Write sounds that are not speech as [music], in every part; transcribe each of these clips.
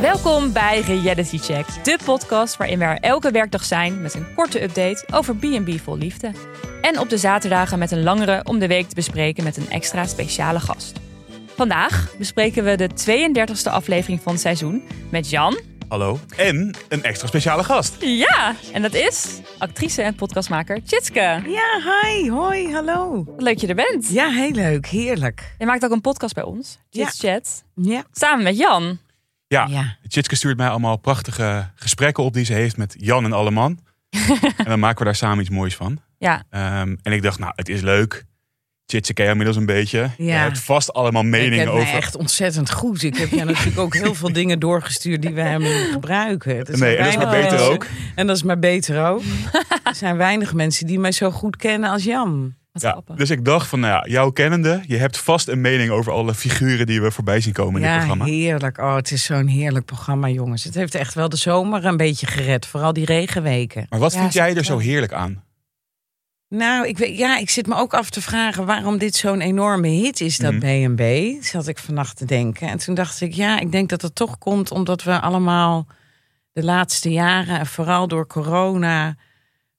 Welkom bij Reality Check, de podcast waarin we er elke werkdag zijn met een korte update over B&B vol liefde. En op de zaterdagen met een langere om de week te bespreken met een extra speciale gast. Vandaag bespreken we de 32e aflevering van het seizoen met Jan. Hallo. En een extra speciale gast. Ja, en dat is actrice en podcastmaker Chitske. Ja, hi, hoi, hallo. Wat leuk je er bent. Ja, heel leuk, heerlijk. Je maakt ook een podcast bij ons, Ja. Chits Chat, Ja. samen met Jan. Ja, Ja. Chitske stuurt mij allemaal prachtige gesprekken op die ze heeft met Jan en Alleman. en dan maken we daar samen iets moois van. Ja, Ehm, en ik dadacht, nou, het is leuk. Chitske ken je inmiddels een beetje. Je hebt vast allemaal Ik meningen ken over. mij echt ontzettend goed. Ik heb [laughs] jou natuurlijk ook heel veel dingen doorgestuurd die we helemaal niet gebruiken. Er zijn Nee, en dat is maar weinig beter mensen- ook. En dat is maar beter ook. Er zijn weinig mensen die mij zo goed kennen als Jan. wat Ja, grappig. dus ik dacht van, nou ja, jouw kennende, je hebt vast een mening over alle figuren die we voorbij zien komen in dit ja, programma. heerlijk. Oh, het is zo'n heerlijk programma, jongens. Het heeft echt wel de zomer een beetje gered. Vooral die regenweken. Maar wat Ja, vind jij er zeker. zo heerlijk aan? Nou, ik, weet, ja, ik zit me ook af te vragen waarom dit zo'n enorme hit is, dat Mhm. BNB. Zat ik vannacht te denken. En toen dacht ik, ja, ik denk dat dat toch komt omdat we allemaal de laatste jaren, en vooral door corona,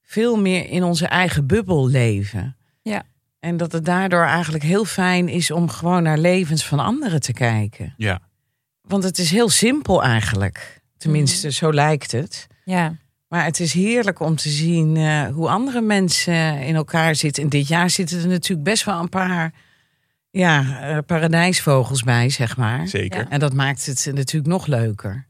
veel meer in onze eigen bubbel leven. Ja. En dat het daardoor eigenlijk heel fijn is om gewoon naar levens van anderen te kijken. Ja. Want het is heel simpel eigenlijk. Tenminste, zo lijkt het. Ja, Maar het is heerlijk om te zien eh, hoe andere mensen in elkaar zitten. En dit jaar zitten er natuurlijk best wel een paar ja, eh, paradijsvogels bij, zeg maar. Zeker. Ja. En dat maakt het natuurlijk nog leuker.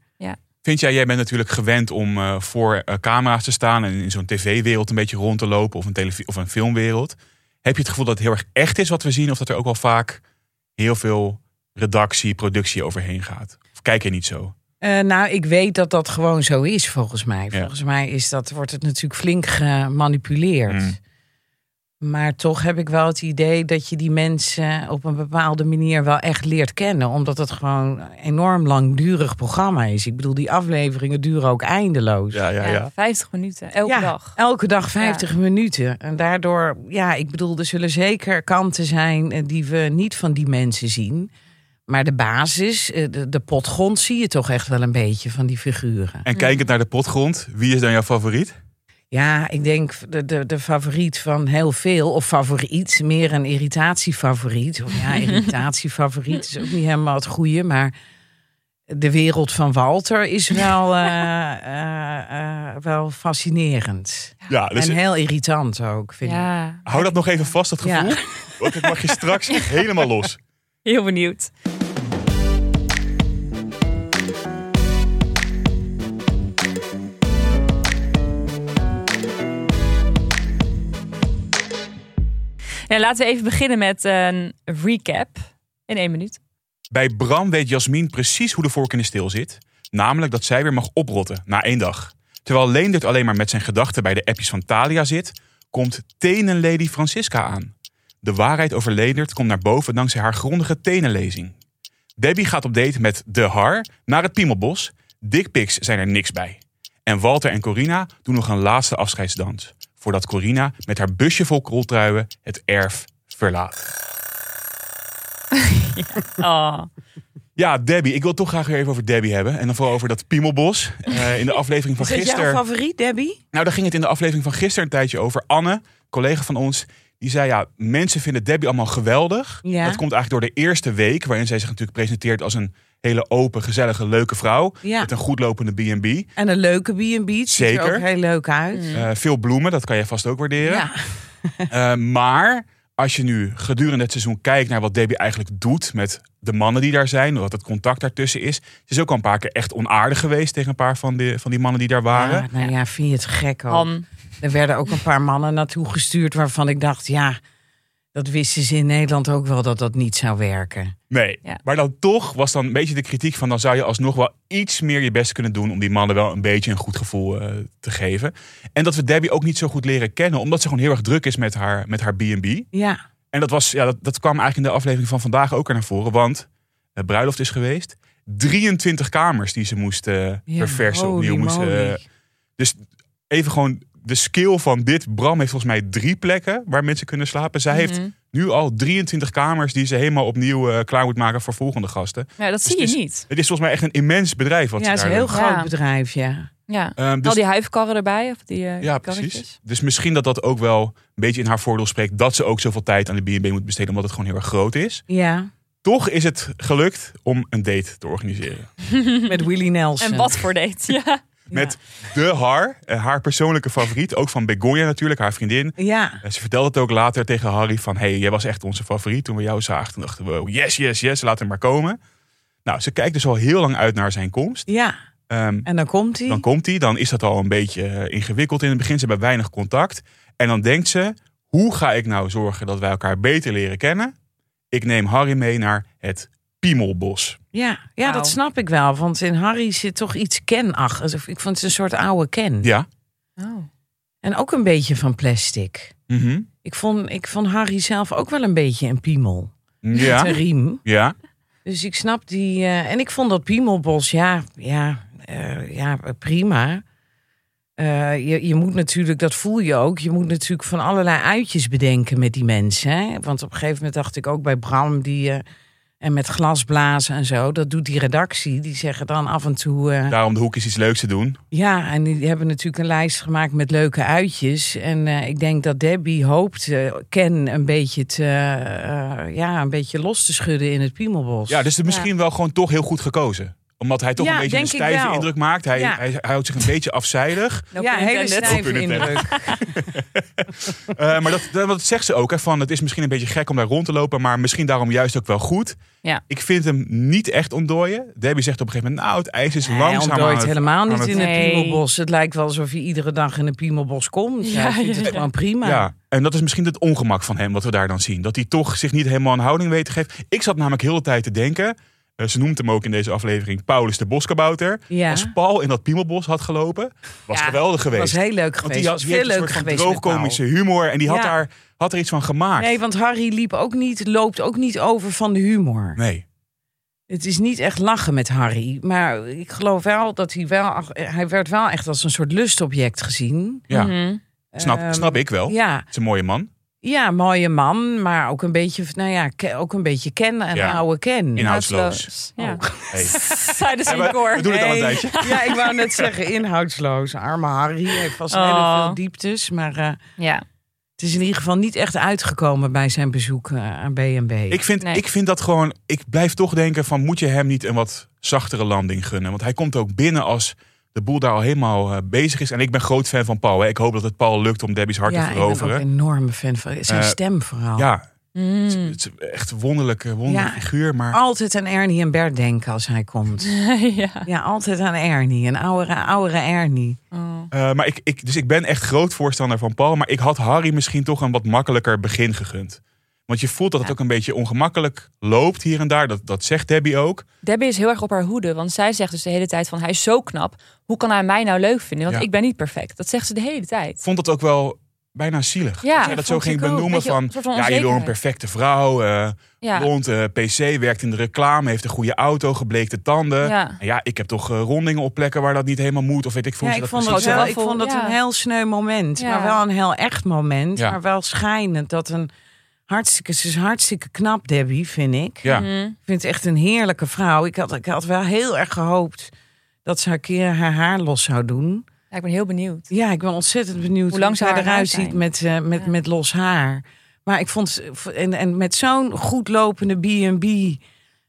Vind jij, jij bent natuurlijk gewend om eh, voor eh, camera's te staan en in zo'n tv-wereld een beetje rond te lopen of een, televi- of een filmwereld. Heb je het gevoel dat het heel erg echt is wat we zien of dat er ook wel vaak heel veel redactie, productie overheen gaat? Of kijk je niet zo? Eh, nou, ik weet dat dat gewoon zo is, volgens mij. Ja. Volgens mij is dat, wordt het natuurlijk flink gemanipuleerd. Mm. Maar toch heb ik wel het idee dat je die mensen op een bepaalde manier wel echt leert kennen. Omdat het gewoon een enorm langdurig programma is. Ik bedoel, die afleveringen duren ook eindeloos. ja, 50 minuten, elke Ja, dag. Elke dag 50 minuten. En daardoor, ja, ik bedoel, er zullen zeker kanten zijn eh, die we niet van die mensen zien. Maar de basis, eh, de, de potgrond, zie je toch echt wel een beetje van die figuren. En kijkend naar de potgrond, wie is dan jouw favoriet? Ja, ik denk de, de, de favoriet van heel veel, of favoriet, meer een irritatiefavoriet. Of [laughs] ja, irritatiefavoriet is ook niet helemaal het goede, maar de wereld van Walter is [laughs] wel, eh, eh, eh, wel fascinerend. Ja, dus en heel irritant ook, vind ik. Ja, hou dat nog even vast, dat Ja. gevoel. Want ik mag je straks helemaal los. heel benieuwd. Ja, laten we even beginnen met een recap in één minuut. Bij Bram weet Jasmin precies hoe de vork in de steel zit. Namelijk dat zij weer mag oprotten na één dag. Terwijl Leendert alleen maar met zijn gedachten bij de appjes van Thalia zit, komt Tenenlady Francisca aan. De waarheid over Leendert komt naar boven dankzij haar grondige tenenlezing. Debbie gaat op date met De Har naar het Piemelbos. Dickpics zijn er niks bij. En Walter en Corina doen nog een laatste afscheidsdans. Voordat Corina met haar busje vol kroltruien het erf verlaat. Oh, Nou, Ja, Debbie. Ik wil het toch graag weer even over Debbie hebben. En dan vooral over dat piemelbos. Eh, in de aflevering van Is [laughs] dat jouw gisteren. favoriet, Debbie? Nou, daar ging het in de aflevering van gisteren een tijdje over. Anne, collega van ons, die zei ja, mensen vinden Debbie allemaal geweldig. Ja. Dat komt eigenlijk door de eerste week, waarin zij zich natuurlijk presenteert als een hele open, gezellige, leuke vrouw. Ja. Met een goedlopende B&B. En een leuke B&B. het Ziet er Zeker. ook heel leuk uit. Eh, veel bloemen, dat kan jij vast ook waarderen. Mm. Ja. Eh, maar als je nu gedurende het seizoen kijkt naar wat Debbie eigenlijk doet met de mannen die daar zijn, wat het contact daartussen is. Ze is ook al een paar keer echt onaardig geweest tegen een paar van, de, van die mannen die daar waren. Ah, nou ja, vind je het gek ook. Han. Er werden ook een paar mannen naartoe gestuurd waarvan ik dacht, ja, dat wisten ze in Nederland ook wel dat dat niet zou werken. Nee. Ja. Maar dan toch was dan een beetje de kritiek van dan zou je alsnog wel iets meer je best kunnen doen om die mannen wel een beetje een goed gevoel eh, te geven. En dat we Debbie ook niet zo goed leren kennen, omdat ze gewoon heel erg druk is met haar met haar B&B. Ja, En dat, was, ja, dat, dat kwam eigenlijk in de aflevering van vandaag ook er naar voren. Want de bruiloft is geweest. 23 kamers die ze moest eh, ja. verversen Holy opnieuw. Moest, moly. eh, dus even gewoon de skill van dit, Bram heeft volgens mij drie plekken waar mensen kunnen slapen. Zij Mhm. Mhm. heeft nu al 23 kamers die ze helemaal opnieuw eh, klaar moet maken voor volgende gasten. Ja, dat zie het je Dus is- niet. Het is volgens mij echt een immens bedrijf wat ja, het ze is daar een heel doen. groot Ja. bedrijf, ja. Ja. Ehm, dus- Al die huifkarren erbij. Of die, eh, ja, karretjes. precies. Dus misschien dat dat ook wel een beetje in haar voordeel spreekt dat ze ook zoveel tijd aan de B&B moet besteden omdat het gewoon heel erg groot is. Ja, [laughs] Toch is het gelukt om een date te organiseren. met Willy Nelson. En wat voor date. Ja. Met de haar, eh, haar persoonlijke favoriet, ook van Begonia natuurlijk, haar vriendin. Ja, En ze vertelde het ook later tegen Harry van... hey, jij was echt onze favoriet toen we jou zagen. Toen dachten we, oh, yes, yes, yes, laat hem maar komen. Nou, ze kijkt dus al heel lang uit naar zijn komst. ja. Ehm, En dan komt hij. dan komt hij, dan is dat al een beetje eh, ingewikkeld in het begin. Ze hebben weinig contact. En dan denkt ze, hoe ga ik nou zorgen dat wij elkaar beter leren kennen? Ik neem Harry mee naar het Piemelbos. Ja, ja Wauw. dat snap ik wel. Want in Harry zit toch iets kenachtig. Ik vond het een soort oude ken. Ja. Oh. En ook een beetje van plastic. Mhm. Ik vond, ik vond Harry zelf ook wel een beetje een piemel. Met Ja. een riem. Ja. Dus ik snap die. eh, en ik vond dat Piemelbos, ja, ja, eh, ja prima. Eh, je, je moet natuurlijk, dat voel je ook, je moet natuurlijk van allerlei uitjes bedenken met die mensen. Hè? Want op een gegeven moment dacht ik ook bij Bram, die, eh, en met glasblazen en zo, dat doet die redactie. Die zeggen dan af en toe, eh, Daarom de hoek is iets leuks te doen. ja, en die hebben natuurlijk een lijst gemaakt met leuke uitjes. En eh, ik denk dat Debbie hoopt eh, Ken een beetje, te, eh, eh, ja, een beetje los te schudden in het Piemelbos. Ja, dus het misschien wel gewoon toch heel goed gekozen. Omdat hij toch Ja, een beetje een denk ik stijve wel. indruk maakt. Hij, Ja. hij, hij houdt zich een beetje afzijdig. No ja, pun hele intended. stijve Open internet. indruk. [laughs] Eh, maar dat, dat, dat zegt ze ook. Hè, van, het is misschien een beetje gek om daar rond te lopen. Maar misschien daarom juist ook wel goed. Ja. Ik vind hem niet echt ontdooien. Debbie zegt op een gegeven moment. Nou, het ijs is Hij langzaam aan ontdooit het- helemaal aan niet het- in het Nee. Piemelbos. Het lijkt wel alsof je iedere dag in een Piemelbos komt. Ja, Ja, ik vind ja, het ja. gewoon prima. Ja, en dat is misschien het ongemak van hem wat we daar dan zien. Dat hij toch zich niet helemaal een houding weet te geven. Ik zat namelijk heel de tijd te denken. eh, ze noemt hem ook in deze aflevering Paulus de Boskabouter. Ja. Als Paul in dat Piemelbos had gelopen, was Ja, geweldig Dat geweest. was heel leuk Want geweest. die had, die Veel heeft een leuker soort van geweest met droogkomische humor. En die had, Ja. daar, had er iets van Paul. gemaakt. Nee, want Harry liep ook niet, loopt ook niet over van de humor. Nee. Het is niet echt lachen met Harry. Maar ik geloof wel dat hij wel... Hij werd wel echt als een soort lustobject gezien. Ja, Mhm. snap, Mm, Ehm, snap ik wel. Ja, Het is een mooie man. ja, mooie man, maar ook een beetje, nou ja, ke- ook een beetje ken en Ja. oude ken. Inhoudsloos. Houtsloos. Ja. Hey. [laughs] Tijdens Oh, Ja, een we, we koor. doen het al een Nee. tijdje. Ja, ik wou [laughs] net zeggen, inhoudsloos. Arme Harry heeft vast Oh. heel veel dieptes. Maar eh, Ja. het is in ieder geval niet echt uitgekomen bij zijn bezoek eh, aan B&B. Ik vind, Nee. ik vind dat gewoon... Ik blijf toch denken van... Moet je hem niet een wat zachtere landing gunnen? Want hij komt ook binnen als de boel daar al helemaal eh, bezig is. En ik ben groot fan van Paul. Hè. Ik hoop dat het Paul lukt om Debbie's hart ja, te ik ben ook veroveren. een enorme fan van zijn Eh, stem vooral. Ja, Mm. het is echt een wonderlijke, wonderlijke Ja. figuur. Maar Altijd aan Ernie en Bert denken als hij komt. [laughs] ja. Ja, altijd aan Ernie. Een oudere, oudere Ernie. Oh. Eh, maar ik, ik, dus ik ben echt groot voorstander van Paul. Maar ik had Harry misschien toch een wat makkelijker begin gegund. Want je voelt dat het ook een beetje ongemakkelijk loopt hier en daar. Dat, dat zegt Debbie ook. Debbie is heel erg op haar hoede, want zij zegt dus de hele tijd van hij is zo knap. Hoe kan hij mij nou leuk vinden? Want Ja. ik ben niet perfect. Dat zegt ze de hele tijd. Ik vond dat ook wel bijna zielig. Ja, dat jij dat zo vond ging ik ook. benoemen Beetje van... een soort van ja, je door een onzekerheid. perfecte vrouw. eh Ja. blond, eh, PC, werkt in de reclame, heeft een goede auto, gebleekte tanden. Ja. En ja, ik heb toch eh, rondingen op plekken waar dat niet helemaal moet. Of weet ik, vond Ja, ze dat ik vond, dat precies wel- wel, zelf? ik vond dat Ja. een heel sneu moment. Ja. Maar wel een heel echt moment. Ja. Maar wel schijnend dat een hartstikke... Ze is hartstikke knap, Debbie, vind ik. Ja. Mhm. Ik vind het echt een heerlijke vrouw. Ik had, ik had wel heel erg gehoopt dat ze haar keer haar haar los zou doen. Ja, ik ben heel benieuwd. Ja, ik ben ontzettend benieuwd Hoe lang zou haar zij haar eruit zijn? ziet met, eh, met, Ja. met los haar. Maar ik vond, ze- en, en met zo'n goed lopende B&B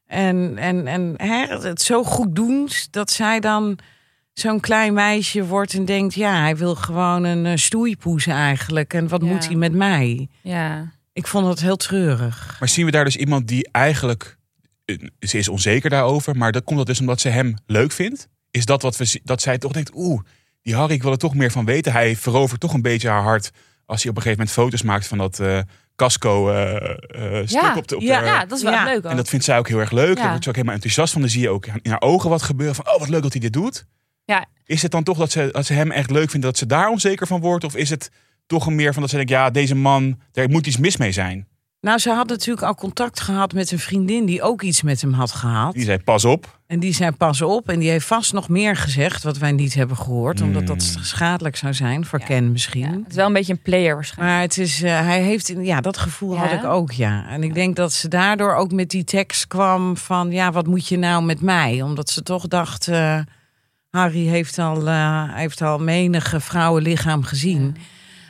en, en, en hè, het zo goed doen dat zij dan zo'n klein meisje wordt en denkt... ja, hij wil gewoon een eh, stoeipoes eigenlijk en wat Ja. moet hij met mij? Ja. Ik vond dat heel treurig. Maar zien we daar dus iemand die eigenlijk... eh, Ze is onzeker daarover, maar dat komt dat dus omdat ze hem leuk vindt? Is dat wat we zi- dat zij toch denkt, oeh, die Harry, ik wil er toch meer van weten. Hij verovert toch een beetje haar hart als hij op een gegeven moment foto's maakt van dat eh, casco eh, eh, stuk Ja, op de... Op ja, de- ja, dat is wel Ja. leuk ook. En dat vindt zij ook heel erg leuk. Ja. Daar wordt ze ook helemaal enthousiast van. Dan zie je ook in haar ogen wat gebeuren. Van, oh, wat leuk dat hij dit doet. Ja. Is het dan toch dat ze, dat ze hem echt leuk vindt, dat ze daar onzeker van wordt? Of is het toch een meer van dat ze denkt, ja, deze man, daar moet iets mis mee zijn? Nou, ze had natuurlijk al contact gehad met een vriendin die ook iets met hem had gehaald. Die zei, pas op. En die zei: Pas op. En die heeft vast nog meer gezegd wat wij niet hebben gehoord. Omdat dat Hmm. schadelijk zou zijn voor Ja. Ken Ja, misschien. het is wel een beetje een player waarschijnlijk. Maar het is, eh, hij heeft, in- ja, dat gevoel Ja. had ik ook, ja. En ik denk dat ze daardoor ook met die tekst kwam van, ja, wat moet je nou met mij? Omdat ze toch dacht, eh, Harry heeft al, eh, hij heeft al menige vrouwenlichaam gezien.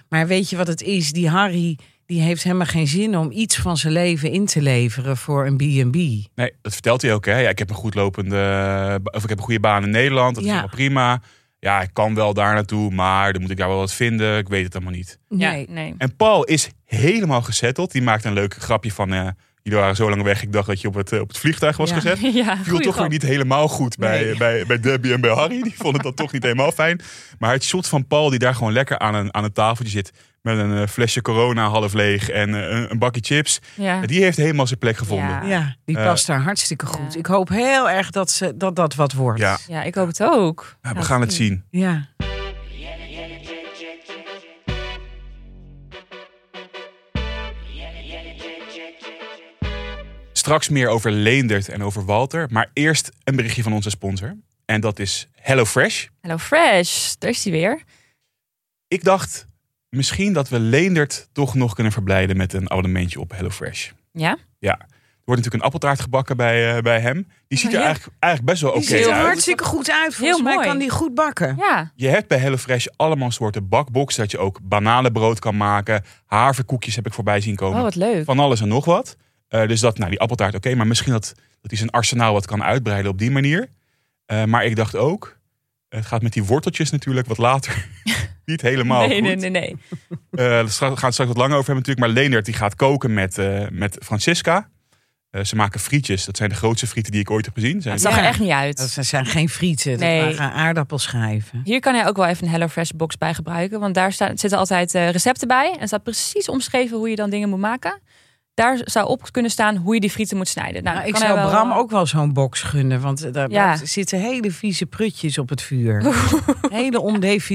Maar weet je wat het is? Die Harry, die heeft helemaal geen zin om iets van zijn leven in te leveren voor een B&B. Nee, dat vertelt hij ook. Hè? Ja, ik heb een goed lopende, eh, of ik heb een goede baan in Nederland. Dat Ja. is allemaal prima. Ja, ik kan wel daar naartoe, maar dan moet ik daar wel wat vinden. Ik weet het allemaal niet. Ja, Nee. nee. En Paul is helemaal gezetteld. Die maakt een leuk grapje van... eh, jullie waren zo lang weg, ik dacht dat je op het, eh, op het vliegtuig was Ja. gezet. [laughs] Ja, viel goeie toch weer grap. niet helemaal goed bij, Nee. bij, bij Debbie en bij Harry. Die vonden dat toch niet helemaal fijn. Maar het shot van Paul, die daar gewoon lekker aan een, aan een tafeltje zit. Met een eh, flesje corona half leeg en eh, een, een bakje chips. Ja. Die heeft helemaal zijn plek gevonden. Ja. Ja, Ja, die Eh, past daar hartstikke goed. Ja. Ik hoop heel erg dat ze, dat, dat wat wordt. Ja. ja, ik hoop het ook. we gaan het zien. ja. Straks meer over Leendert en over Walter. Maar eerst een berichtje van onze sponsor. En dat is HelloFresh. Hello Fresh, daar is hij weer. Ik dacht misschien dat we Leendert toch nog kunnen verblijden met een abonnementje op HelloFresh. Ja, Er wordt natuurlijk een appeltaart gebakken bij, eh, bij hem. Die ziet Oh, Ja. er eigenlijk, eigenlijk best wel Die oké ziet er uit. hartstikke goed uit. Volgens Heel mij mooi. kan die goed bakken. ja. Je hebt bij HelloFresh allemaal soorten bakboxen. Dat je ook bananenbrood kan maken. Haverkoekjes heb ik voorbij zien komen. Oh, wat leuk. Van alles en nog wat. Eh, dus dat, nou, die appeltaart oké. maar misschien dat, dat hij zijn arsenaal wat kan uitbreiden op die manier. Eh, maar ik dacht ook, het gaat met die worteltjes natuurlijk wat later [laughs] niet helemaal nee, goed. nee, nee, nee. Eh, daar stra- gaan we het straks wat langer over hebben natuurlijk. Maar Leendert die gaat koken met, eh, met Francisca. Eh, ze maken frietjes. Dat zijn de grootste frieten die ik ooit heb gezien. Zijn Het zag er Ja. echt niet uit. Dat zijn geen frieten, Nee. dat waren aardappelschijven. Hier kan hij ook wel even een HelloFresh box bij gebruiken. Want daar staan, zitten altijd eh, recepten bij. En staat precies omschreven hoe je dan dingen moet maken. Daar zou op kunnen staan hoe je die frieten moet snijden. Nou, Nou, ik kan hij zou wel- Bram ook wel zo'n box gunnen, want eh, daar, Ja. daar zitten hele vieze prutjes op het [laughs] vuur. hele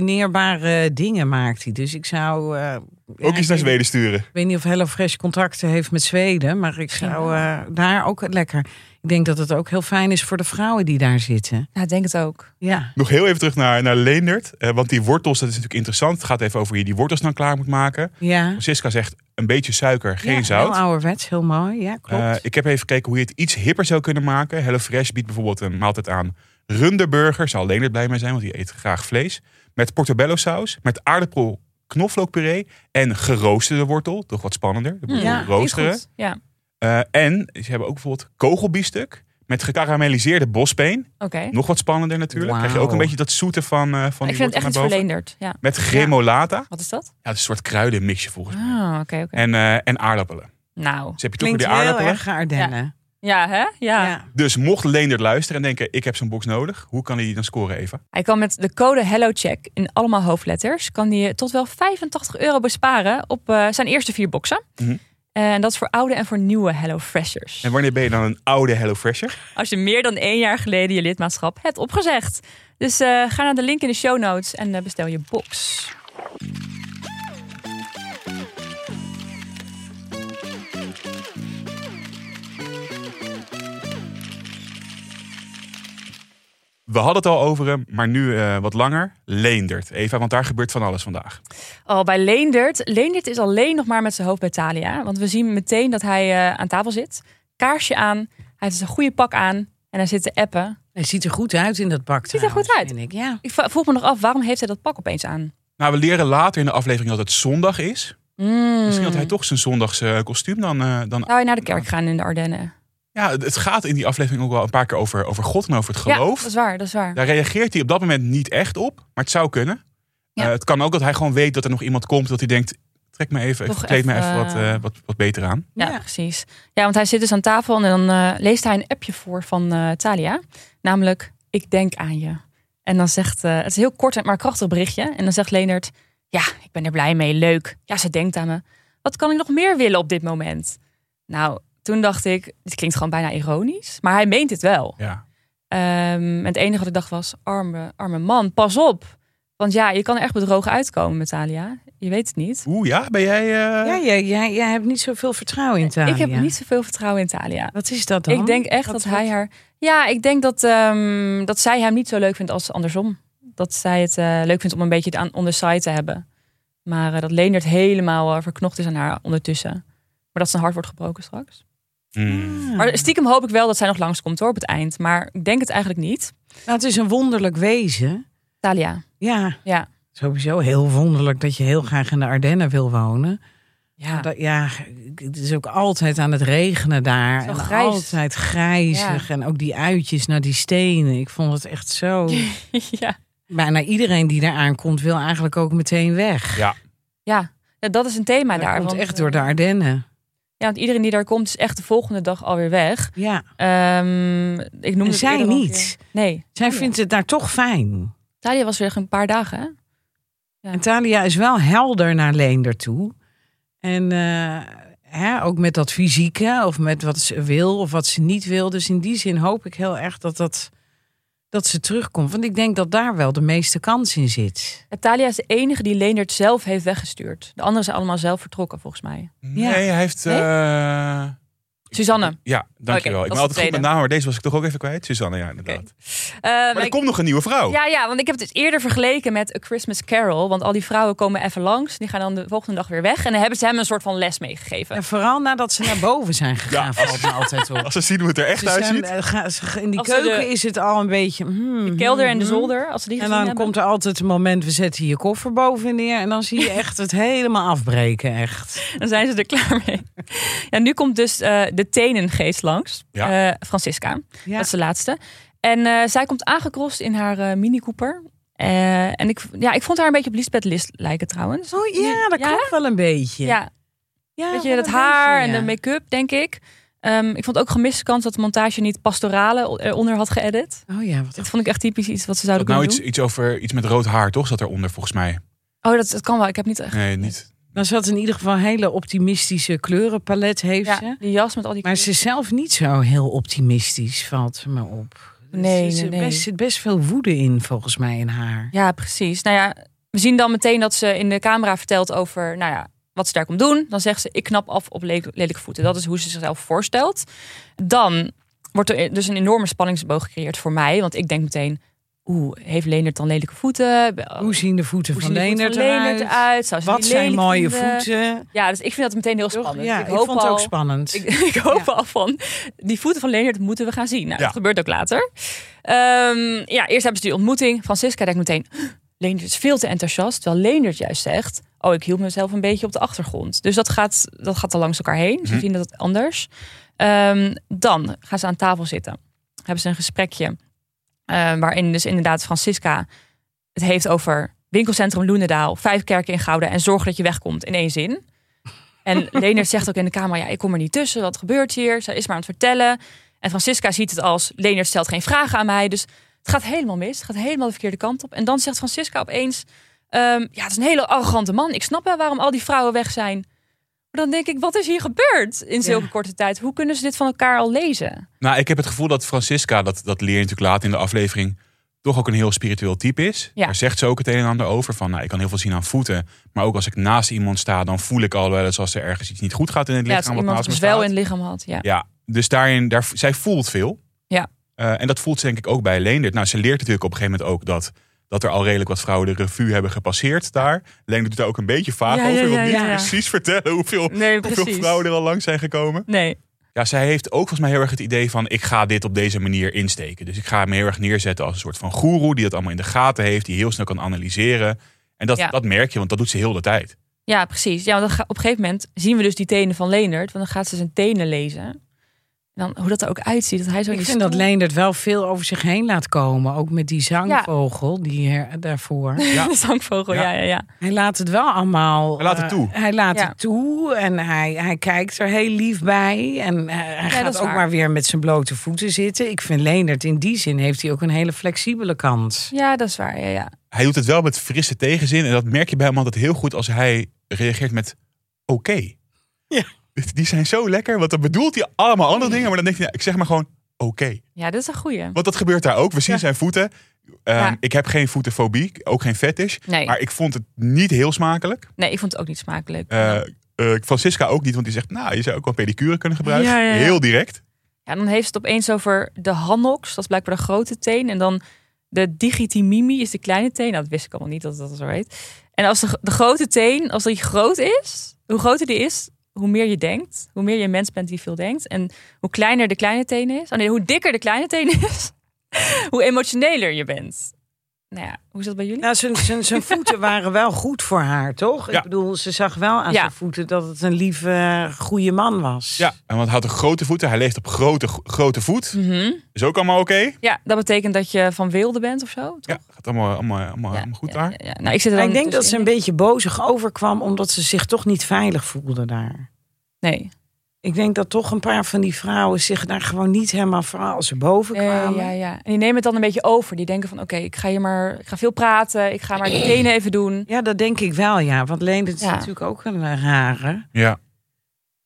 ondefinieerbare dingen maakt hij. Dus ik zou. eh, ook iets naar ja, ik weet- Zweden sturen. Ik weet niet of HelloFresh contacten heeft met Zweden, maar ik zou eh, daar ook lekker. Ik denk dat het ook heel fijn is voor de vrouwen die daar zitten. Ja, ik denk het ook. Ja. Nog heel even terug naar, naar Leendert. Eh, want die wortels, dat is natuurlijk interessant. Het gaat even over hoe je die wortels dan klaar moet maken. Ja. Francisca zegt een beetje suiker, geen Ja, zout. Heel ouderwets, heel mooi. Ja, klopt. Eh, ik heb even gekeken hoe je het iets hipper zou kunnen maken. HelloFresh biedt bijvoorbeeld een maaltijd aan runderburger. Zal Leendert blij mee zijn, want die eet graag vlees. Met portobello saus, met aardappel knoflookpuree en geroosterde wortel. Toch wat spannender. Dat moet je Ja, gewoon roosteren. Goed. Ja, Eh, en ze hebben ook bijvoorbeeld kogelbiefstuk met gekarameliseerde bospeen. oké. Nog wat spannender natuurlijk. Wauw. Krijg je ook een beetje dat zoete van, eh van Ik die vind het echt wortel naar iets boven. verleenderd. Ja. Met gremolata. Ja, Wat is dat? dat is een soort kruidenmixje volgens mij. Ah, oké, oké. En, eh, en aardappelen. Nou, Dus heb je toch weer Klinkt die heel aardappelen. erg Ardennen. ja, hè? Ja. ja. Dus mocht Leendert luisteren en denken, ik heb zo'n box nodig. Hoe kan hij die dan scoren, Eva? Hij kan met de code HelloCheck in allemaal hoofdletters... kan hij tot wel 85 euro besparen op eh, zijn eerste vier boxen. Mhm. En dat is voor oude en voor nieuwe HelloFreshers. En wanneer ben je dan een oude HelloFresher? als je meer dan één jaar geleden je lidmaatschap hebt opgezegd. Dus eh, ga naar de link in de show notes en eh, bestel je box. We hadden het al over hem, maar nu eh, wat langer. Leendert, Eva, want daar gebeurt van alles vandaag. Al Oh, bij Leendert. Leendert is alleen nog maar met zijn hoofd bij Thalia. Want we zien meteen dat hij eh, aan tafel zit. Kaarsje aan. Hij heeft zijn goede pak aan. En hij zit te appen. Hij ziet er goed uit in dat bak. Ziet er trouwens, goed uit. vind ik. Ja. Ik vroeg me nog af, waarom heeft hij dat pak opeens aan? Nou, we leren later in de aflevering dat het zondag is. Mm. Misschien dat hij toch zijn zondagse eh, kostuum dan, eh, dan Zou hij naar de kerk gaan in de Ardennen? Ja, het het gaat in die aflevering ook wel een paar keer over, over God en over het Ja, geloof. dat is waar, dat is waar. Daar reageert hij op dat moment niet echt op, maar het zou kunnen. Ja. Eh, het kan ook dat hij gewoon weet dat er nog iemand komt, dat hij denkt: trek me even, Toch ik kleed me even, even wat, eh, eh, wat, wat beter aan. Ja, Ja. precies. Ja, want hij zit dus aan tafel en dan eh, leest hij een appje voor van eh Thalia. Namelijk, ik denk aan je. En dan zegt, eh, het is een heel kort maar krachtig berichtje. En dan zegt Leonard, ja, ik ben er blij mee, leuk. Ja, ze denkt aan me. Wat kan ik nog meer willen op dit moment? Nou, toen dacht ik, dit klinkt gewoon bijna ironisch. Maar hij meent het wel. Ja. Ehm, en het enige wat ik dacht was, arme, arme man, pas op. Want ja, je kan er echt bedrogen uitkomen met Thalia. Je weet het niet. Oeh ja, ben jij... eh, Ja, jij, jij, jij hebt niet zoveel vertrouwen in Thalia. Ik heb niet zoveel vertrouwen in Thalia. Wat is dat dan? Ik denk echt Wat- dat wat- hij haar... Ja, ik denk dat, ehm, dat zij hem niet zo leuk vindt als andersom. Dat zij het eh, leuk vindt om een beetje het aan on the side te hebben. Maar eh, dat Leendert helemaal eh, verknocht is aan haar ondertussen. Maar dat zijn hart wordt gebroken straks. Hmm. Maar stiekem hoop ik wel dat zij nog langskomt hoor, op het eind. Maar ik denk het eigenlijk niet. Nou, het is een wonderlijk wezen. Talia. Ja. Ja. Sowieso heel wonderlijk dat je heel graag in de Ardennen wil wonen. Ja. Dat, ja, het is ook altijd aan het regenen daar. Zo en grijs. altijd grijzig. En ook die uitjes naar die stenen. Ik vond het echt [laughs] zo... [laughs] ja. Bijna iedereen die daar aankomt wil eigenlijk ook meteen weg. Ja, ja. Ja, dat is een thema dat daar. komt want, echt door de Ardennen. Ja, want iedereen die daar komt is echt de volgende dag alweer weg. Ja, Ehm, ik noemde en het zij eerder al een niet. keer. Nee. Zij Ja. vindt het daar toch fijn. Talia was weer een paar dagen. hè? Ja. En Thalia is wel helder naar Leender toe. En eh, hè, ook met dat fysieke, of met wat ze wil of wat ze niet wil. Dus in die zin hoop ik heel erg dat, dat, dat ze terugkomt. Want ik denk dat daar wel de meeste kans in zit. En Talia is de enige die Leendert zelf heeft weggestuurd. De anderen zijn allemaal zelf vertrokken volgens mij. Nee, Ja. hij heeft... Nee? eh, Suzanne. Ja, dankjewel. Oké, dat is ik ben de altijd goed tweede. met naam, maar deze was ik toch ook even kwijt. Suzanne, ja, inderdaad. Oké. Maar er komt nog een nieuwe vrouw. Eh, Ja, ja, want ik heb het dus eerder vergeleken met A Christmas Carol. Want al die vrouwen komen even langs. Die gaan dan de volgende dag weer weg. En dan hebben ze hem een soort van les meegegeven. En vooral nadat ze naar boven zijn gegaan, Ja. valt me altijd op. Als ze zien hoe het er echt Ze zijn, uitziet. eh, gaan- ze- in die Als ze keuken de- is het al een beetje... hmm, De kelder en de hmm, hmm. zolder, als ze die En gezien dan hebben. komt er altijd een moment, we zetten je koffer boven neer. En dan zie [laughs] je echt het helemaal afbreken, echt. Dan zijn ze er klaar mee. Ja, nu komt dus eh, de tenengeest langs. Ja. Eh, Francisca, Ja. dat is de laatste. En eh, zij komt aangekrost in haar eh, Mini Cooper. Eh, en ik, ja, ik vond haar een beetje op Lisbeth List lijken trouwens. Oh ja, dat Ja? klopt wel een beetje. Ja, Ja, Weet je, wel dat Ah, een haar beetje, en de ja. make-up, denk ik. Ehm, ik vond ook gemiste kans dat de montage niet pastorale eronder had geëdit. Oh ja, wat Dat vond ik echt typisch iets wat ze zouden Dat nou kunnen iets, iets over iets met rood haar, toch? Zat eronder volgens mij. doen. Oh, dat, dat kan wel. Ik heb niet echt... Nee, niet. Nou, ze had in ieder geval een hele optimistische kleurenpalet, heeft Ja, ze. die jas met al die... Maar ze is zelf niet zo heel optimistisch, valt me op. Dus Nee, er nee, zit nee. Best, zit best veel woede in, volgens mij, in haar. Ja, precies. Nou ja, we zien dan meteen dat ze in de camera vertelt over nou ja, wat ze daar komt doen. Dan zegt ze, ik knap af op le- lelijke voeten. Dat is hoe ze zichzelf voorstelt. Dan wordt er dus een enorme spanningsboog gecreëerd voor mij. Want ik denk meteen, oeh, heeft Leendert dan lelijke voeten? Hoe zien de voeten Hoe van zien de voeten Leendert van Leendert eruit? eruit? Zou ze Wat die zijn lelijk mooie vinden? voeten? Ja, dus ik vind dat meteen heel spannend. Ja, ik, ik, hoop vond het al, ook spannend. Ik, [laughs] ik hoop Ja. al van, die voeten van Leendert moeten we gaan zien. Nou, Ja. dat gebeurt ook later. Ehm, ja, eerst hebben ze die ontmoeting. Francisca denkt meteen, Leendert is veel te enthousiast. Terwijl Leendert juist zegt, oh, ik hield mezelf een beetje op de achtergrond. Dus dat gaat, dat gaat dan langs elkaar heen. Ze Mhm. zien dat het anders. Ehm, dan gaan ze aan tafel zitten. Hebben ze een gesprekje. eh, waarin dus inderdaad Francisca het heeft over winkelcentrum Loenendaal, vijf kerken in Gouden en zorg dat je wegkomt in één zin. [laughs] En Leendert zegt ook in de camera, ja, ik kom er niet tussen. Wat gebeurt hier? Zij is maar aan het vertellen. En Francisca ziet het als, Leendert stelt geen vragen aan mij. Dus het gaat helemaal mis. Het gaat helemaal de verkeerde kant op. En dan zegt Francisca opeens, ehm, ja, het is een hele arrogante man. Ik snap wel waarom al die vrouwen weg zijn. Maar dan denk ik, wat is hier gebeurd in zulke korte tijd? Hoe kunnen ze dit van elkaar al lezen? Nou, ik heb het gevoel dat Francisca, dat, dat leer je natuurlijk laat in de aflevering, toch ook een heel spiritueel type is. Ja. Daar zegt ze ook het een en ander over. Van, nou, ik kan heel veel zien aan voeten. Maar ook als ik naast iemand sta, dan voel ik al wel eens als er ergens iets niet goed gaat in het Ja, lichaam. dat wat iemand naast me dus wel in het staat. lichaam had. Ja. Ja, dus daarin, daar, zij voelt veel. Ja. Eh, en dat voelt ze denk ik ook bij Leendert. Nou, ze leert natuurlijk op een gegeven moment ook dat, dat er al redelijk wat vrouwen de revue hebben gepasseerd daar. Leendert doet daar ook een beetje vaag Ja, over. ja, wil ja, niet ja, ja. precies vertellen [laughs] hoeveel, Nee, hoeveel vrouwen er al langs zijn gekomen. Nee, Ja, zij heeft ook volgens mij heel erg het idee van... ik ga dit op deze manier insteken. Dus ik ga me heel erg neerzetten als een soort van goeroe... die dat allemaal in de gaten heeft, die heel snel kan analyseren. En dat, Ja. dat merk je, want dat doet ze heel de tijd. Ja, precies. Ja, want dan ga- op een gegeven moment zien we dus die tenen van Leendert. Want dan gaat ze zijn tenen lezen. En dan hoe dat er ook uitziet. Dat hij zo in Ik die vind dat stoel- Leendert wel veel over zich heen laat komen. Ook met die zangvogel die her- daarvoor. [laughs] Ja. de zangvogel, ja, Ja. ja, ja. Hij laat het wel allemaal. Hij laat het eh, toe. hij laat Ja. het toe en hij, hij kijkt er heel lief bij. En eh, hij dat gaat is ook waar. maar weer met zijn blote voeten zitten. Ik vind Leendert in die zin heeft hij ook een hele flexibele kant. Ja, dat is waar, ja, ja. Hij doet het wel met frisse tegenzin. En dat merk je bij hem altijd heel goed als hij reageert met... oké. Ja. Dit- Die zijn zo lekker, want dan bedoelt hij allemaal andere dingen. Maar dan denkt hij, nou, ik zeg maar gewoon oké. Ja, dat is een goeie. Want dat gebeurt daar ook. We zien zijn voeten. Ehm, Ja. Ik heb geen voetenfobie, ook geen fetish. Nee. Maar ik vond het niet heel smakelijk. Nee, ik vond het ook niet smakelijk. Eh, eh, Francisca ook niet, want die zegt, nou, je zou ook wel pedicure kunnen gebruiken. Ja, ja, ja. Heel direct. Ja, dan heeft ze het opeens over de hannoks. Dat is blijkbaar de grote teen. En dan de digitimimi is de kleine teen. Nou, dat wist ik allemaal niet dat dat zo heet. En als de, de grote teen, als die groot is, hoe groter die is, hoe meer je denkt. Hoe meer je een mens bent die veel denkt. En hoe kleiner de kleine teen is. Oh nee, hoe dikker de kleine teen is, [laughs] hoe emotioneler je bent. Nou ja, hoe is dat bij jullie? Nou, zijn- [laughs] zijn zijn voeten waren wel goed voor haar, toch? Ja. Ik bedoel, ze zag wel aan Ja. zijn voeten dat het een lieve, goede man was. Ja, en want hij had een grote voeten. Hij leeft op grote, grote voet. Mhm. Is ook allemaal oké. Ja, dat betekent dat je van wilde bent of zo. toch? Ja, gaat allemaal, allemaal, allemaal, allemaal goed ja, daar. ja, ja. Nou, ik zit er Maar dan ik denk dat ze tussenin. een beetje bozig overkwam, omdat ze zich toch niet veilig voelde daar. Nee. Ik denk dat toch een paar van die vrouwen zich daar gewoon niet helemaal vooral als ze boven Nee, kwamen. ja, ja. En die nemen het dan een beetje over. Die denken van, oké, ik ga hier maar, ik ga veel praten, ik ga maar die tenen even doen. Ja, dat denk ik wel, ja. Want Leen, dat is Ja. natuurlijk ook een eh, rare. Ja.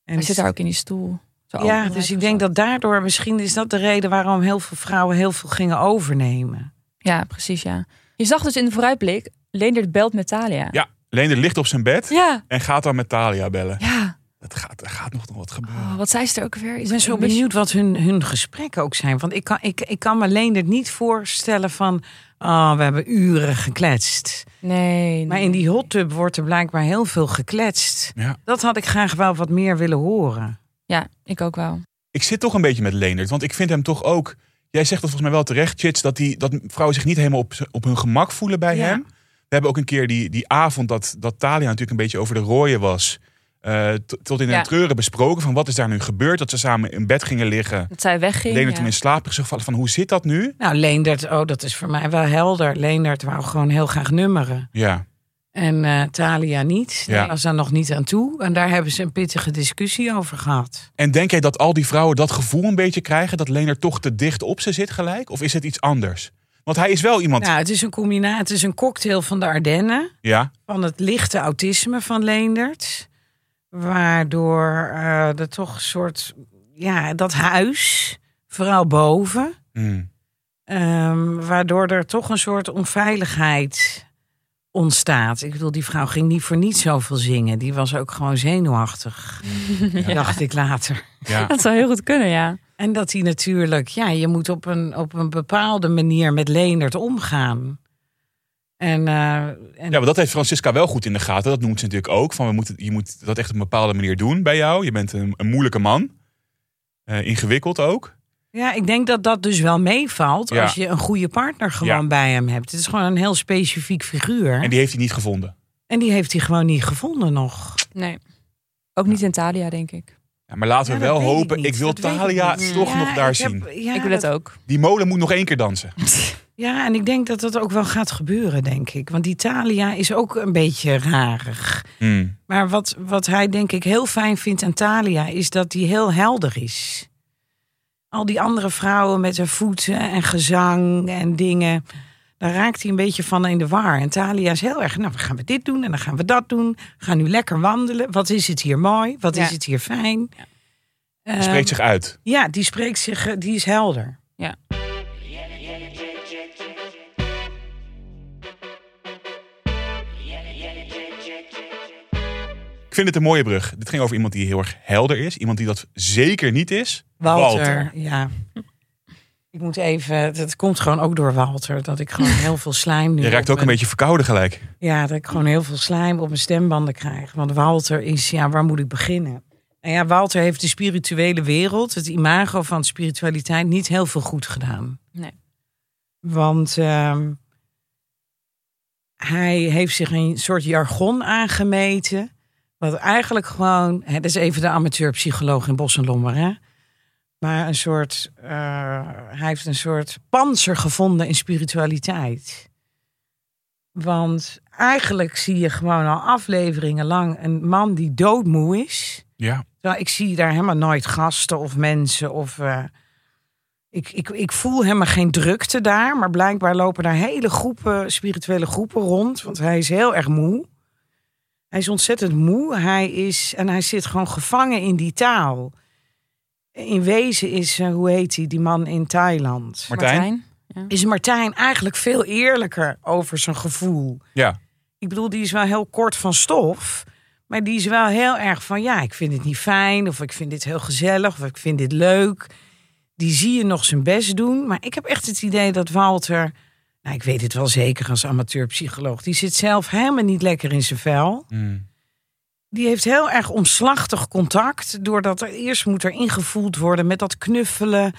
En Hij zit daar ook in die stoel. Zo Ja, openrijden dus ik of denk zo. dat daardoor misschien is dat de reden waarom heel veel vrouwen heel veel gingen overnemen. Ja, precies, ja. Je zag dus in de vooruitblik, Leendert belt met Thalia. Ja, Leender ligt op zijn bed Ja, en gaat dan met Talia bellen. ja. Het gaat, er gaat nog wat gebeuren. Oh, wat zei ze er ook weer? Ik ben zo benieuwd wat hun, hun gesprekken ook zijn. Want ik kan, ik, ik kan me alleen het niet voorstellen van... ah we hebben uren gekletst. Nee. Maar nee. in die hot tub wordt er blijkbaar heel veel gekletst. Ja. Dat had ik graag wel wat meer willen horen. Ja, ik ook wel. Ik zit toch een beetje met Leendert, want ik vind hem toch ook... Jij zegt dat volgens mij wel terecht, Chits, dat, die, dat vrouwen zich niet helemaal op, z- op hun gemak voelen bij Ja. hem. We hebben ook een keer die, die avond dat, dat Talia natuurlijk een beetje over de rooien was... eh, t- tot in Ja. een treuren besproken van wat is daar nu gebeurd. Dat ze samen in bed gingen liggen. Dat zij wegging. Leendert ja. toen in slaap is gevallen van hoe zit dat nu? Nou, Leendert, oh, dat is voor mij wel helder. Leendert wou gewoon heel graag nummeren. Ja, En eh Thalia niet. Ja. Daar was daar nog niet aan toe. En daar hebben ze een pittige discussie over gehad. En denk jij dat al die vrouwen dat gevoel een beetje krijgen dat Lener toch te dicht op ze zit gelijk? Of is het iets anders? Want hij is wel iemand. Ja, Nou, het is een combinatie. Het is een cocktail van de Ardennen. Van het lichte autisme van Leendert. Waardoor eh er toch een soort. Ja, dat huis. Vooral boven. Hmm. ehm, waardoor er toch een soort onveiligheid ontstaat. Ik bedoel, die vrouw ging niet voor niet zoveel zingen. Die was ook gewoon [laughs] zenuwachtig. Dacht ik later. ja. Dat zou heel goed kunnen, ja. En dat hij natuurlijk, ja, je moet op een, op een bepaalde manier met Leendert omgaan. En, eh, en ja, maar dat heeft Francisca wel goed in de gaten. Dat noemt ze natuurlijk ook. Van we moeten, je moet dat echt op een bepaalde manier doen bij jou. Je bent een, een moeilijke man. Eh, ingewikkeld ook. ja, ik denk dat dat dus wel meevalt Ja. als je een goede partner gewoon Ja. bij hem hebt. Het is gewoon een heel specifiek figuur. En En die, die heeft hij niet gevonden. heeft hij gewoon niet gevonden nog. Nee. Ook niet in Thalia, denk ik. Ja, maar laten Ja, we dat wel weet ik hopen. Ik, niet. wil Dat weet ik Talia niet. toch Ja, nog daar ik heb- zien. ja, ik wil het [laughs] dat- ook. Die molen moet nog één keer dansen. Ja, en ik denk dat dat ook wel gaat gebeuren, denk ik. Want Italia is ook een beetje rarig. Hmm. Maar wat, wat hij denk ik heel fijn vindt aan Thalia is dat hij heel helder is. Al die andere vrouwen met haar voeten en gezang en dingen. Daar raakt hij een beetje van in de war. En Thalia is heel erg, nou dan gaan we dit doen en dan gaan we dat doen. We gaan nu lekker wandelen. Wat is het hier mooi? Wat Ja. is het hier fijn? Ehm, Spreekt zich uit. ja, die spreekt zich, eh, die is helder. Ja. Ik vind het een mooie brug. Dit ging over iemand die heel erg helder is. Iemand die dat zeker niet is. Walter, ja. Ik moet even, het komt gewoon ook door Walter, dat ik gewoon heel veel slijm nu Je op raakt ook een mijn- beetje verkouden gelijk. Ja, dat ik gewoon heel veel slijm op mijn stembanden krijg. Want Walter is, ja, waar moet ik beginnen? Nou ja, Walter heeft de spirituele wereld, het imago van spiritualiteit, niet heel veel goed gedaan. Nee. Want ehm, hij heeft zich een soort jargon aangemeten. Wat eigenlijk gewoon, hè, dat is even de amateurpsycholoog in Bos en Lommer, hè? Maar een soort, eh, hij heeft een soort panzer gevonden in spiritualiteit. Want eigenlijk zie je gewoon al afleveringen lang een man die doodmoe is. Ja. Terwijl ik zie daar helemaal nooit gasten of mensen of... eh, ik, ik, ik voel helemaal geen drukte daar, maar blijkbaar lopen daar hele groepen, spirituele groepen rond. Want hij is heel erg moe. Hij is ontzettend moe. Hij is, en hij zit gewoon gevangen in die taal. In wezen is, eh, hoe heet hij, die man in Thailand? Martijn? is Martijn eigenlijk veel eerlijker over zijn gevoel. Ja, Ik bedoel, die is wel heel kort van stof. Maar die is wel heel erg van, ja, ik vind het niet fijn. Of ik vind dit heel gezellig. Of ik vind dit leuk. Die zie je nog zijn best doen. Maar ik heb echt het idee dat Walter... Nou, ik weet het wel zeker als amateurpsycholoog. Die zit zelf helemaal niet lekker in zijn vel. Mm. Die heeft heel erg omslachtig contact. Doordat er eerst moet er ingevoeld worden met dat knuffelen.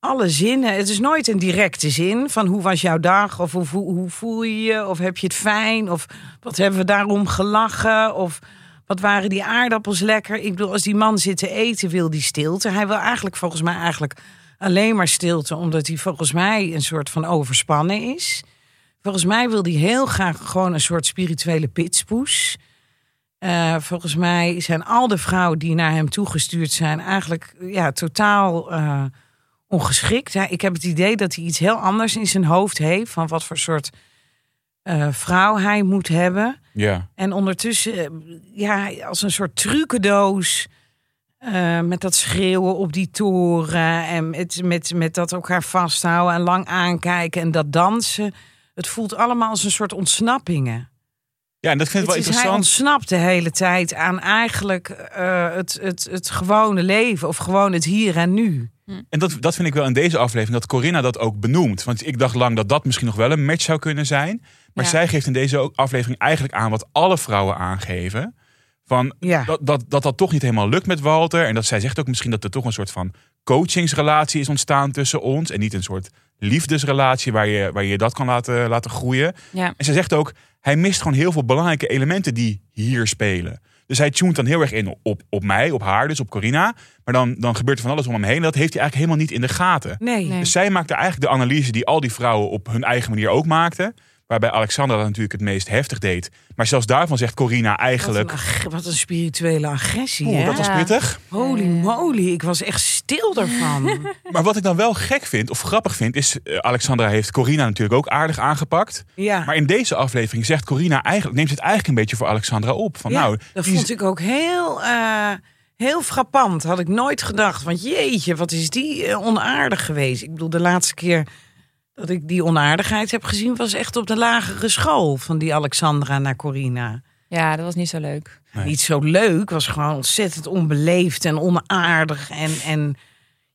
Alle zinnen. Het is nooit een directe zin van hoe was jouw dag? Of hoe, hoe, hoe voel je je? Of heb je het fijn? Of wat hebben we daarom gelachen? Of wat waren die aardappels lekker? Ik bedoel, als die man zit te eten, wil die stilte. Hij wil eigenlijk volgens mij eigenlijk alleen maar stilte. Omdat hij volgens mij een soort van overspannen is. Volgens mij wil hij heel graag gewoon een soort spirituele pitspoes. Eh, volgens mij zijn al de vrouwen die naar hem toegestuurd zijn eigenlijk ja, totaal eh, ongeschikt. Hij- Ik heb het idee dat hij iets heel anders in zijn hoofd heeft van wat voor soort eh, vrouw hij moet hebben. ja. En ondertussen, eh, ja, als een soort trucendoos. eh, met dat schreeuwen op die toren. En met, met, met dat elkaar vasthouden en lang aankijken. En dat dansen. Het voelt allemaal als een soort ontsnappingen. Ja, en dat vind ik wel Het is, hij interessant. ontsnapt de hele tijd aan eigenlijk eh, het, het, het gewone leven. Of gewoon het hier en nu. En dat, dat vind ik wel in deze aflevering, dat Corinna dat ook benoemt. Want ik dacht lang dat dat misschien nog wel een match zou kunnen zijn. Maar Ja. zij geeft in deze ook- aflevering eigenlijk aan wat alle vrouwen aangeven. Van Ja. dat, dat, dat dat toch niet helemaal lukt met Walter. En dat zij zegt ook misschien dat er toch een soort van coachingsrelatie is ontstaan tussen ons. En niet een soort liefdesrelatie waar je, waar je dat kan laten, laten groeien. Ja. En zij zegt ook, hij mist gewoon heel veel belangrijke elementen die hier spelen. Dus hij tunt dan heel erg in op, op mij, op haar, dus op Corina. Maar dan, dan gebeurt er van alles om hem heen. En dat heeft hij eigenlijk helemaal niet in de gaten. Nee. Nee. Dus zij maakte eigenlijk de analyse die al die vrouwen op hun eigen manier ook maakten. Waarbij Alexandra dat natuurlijk het meest heftig deed. Maar zelfs daarvan zegt Corina Wat, een eigenlijk... ag- wat een spirituele agressie. Oeh, hè? dat was Ja. pittig. Holy moly, ik was echt stil daarvan. Maar wat ik dan wel gek vind, of grappig vind, is... eh, Alexandra heeft Corina natuurlijk ook aardig aangepakt. ja. Maar in deze aflevering zegt Corina eigenlijk... neemt ze het eigenlijk een beetje voor Alexandra op. Van, Ja, nou, dat die- vond ik ook heel, eh, heel frappant. Had ik nooit gedacht. Want jeetje, wat is die eh, onaardig geweest. Ik bedoel, de laatste keer dat ik die onaardigheid heb gezien... was echt op de lagere school van die Alexandra naar Corina. ja, dat was niet zo leuk. Nee. Niet zo leuk, was gewoon ontzettend onbeleefd en onaardig. En, en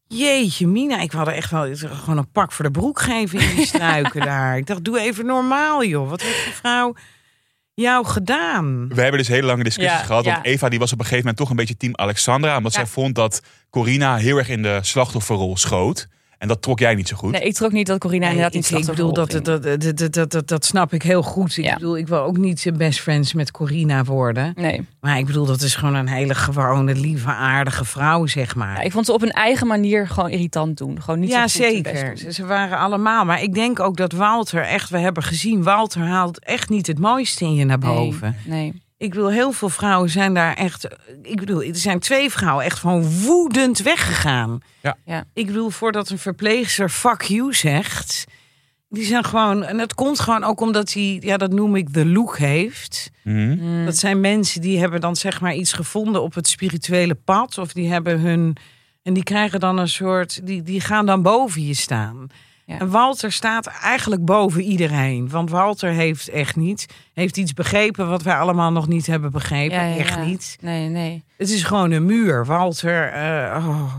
jeetje, Mina, ik had er echt wel gewoon een pak voor de broek geven in die struiken [laughs] daar. Ik dacht, doe even normaal, joh. Wat heeft die vrouw jou gedaan? We hebben dus hele lange discussies Ja, gehad. Want ja. Eva die was op een gegeven moment toch een beetje team Alexandra. Omdat Ja. zij vond dat Corina heel erg in de slachtofferrol schoot. En dat trok jij niet zo goed. Nee, ik trok niet dat Corina Nee, inderdaad ik- iets ik bedoel, dat, eh, dat, dat, dat, dat, dat, dat snap ik heel goed. Ik Ja. bedoel, ik wil ook niet zijn best friends met Corina worden. Nee, Maar ik bedoel, dat is gewoon een hele gewone, lieve, aardige vrouw, zeg Ja, maar. ik vond ze op hun eigen manier gewoon irritant doen. Gewoon niet Ja, zo goed hun best zeker. doen. Ze- Ze waren allemaal. Maar ik denk ook dat Walter echt, we hebben gezien, Walter haalt echt niet het mooiste in je naar Nee, boven. Nee. Ik bedoel, heel veel vrouwen zijn daar echt. Ik bedoel, er zijn twee vrouwen echt gewoon woedend weggegaan. Ja. Ja. Ik bedoel, voordat een verpleegster fuck you zegt. Die zijn gewoon. En dat komt gewoon ook omdat hij, ja, dat noem ik de look heeft. Mhm. Mm. Dat zijn mensen die hebben dan zeg maar iets gevonden op het spirituele pad. Of die hebben hun. En die krijgen dan een soort. Die, die gaan dan boven je staan. Ja. En Walter staat eigenlijk boven iedereen. Want Walter heeft echt niet. Heeft iets begrepen wat wij allemaal nog niet hebben begrepen. Ja, ja, echt ja. niet. Nee, nee. Het is gewoon een muur. Walter. eh, oh.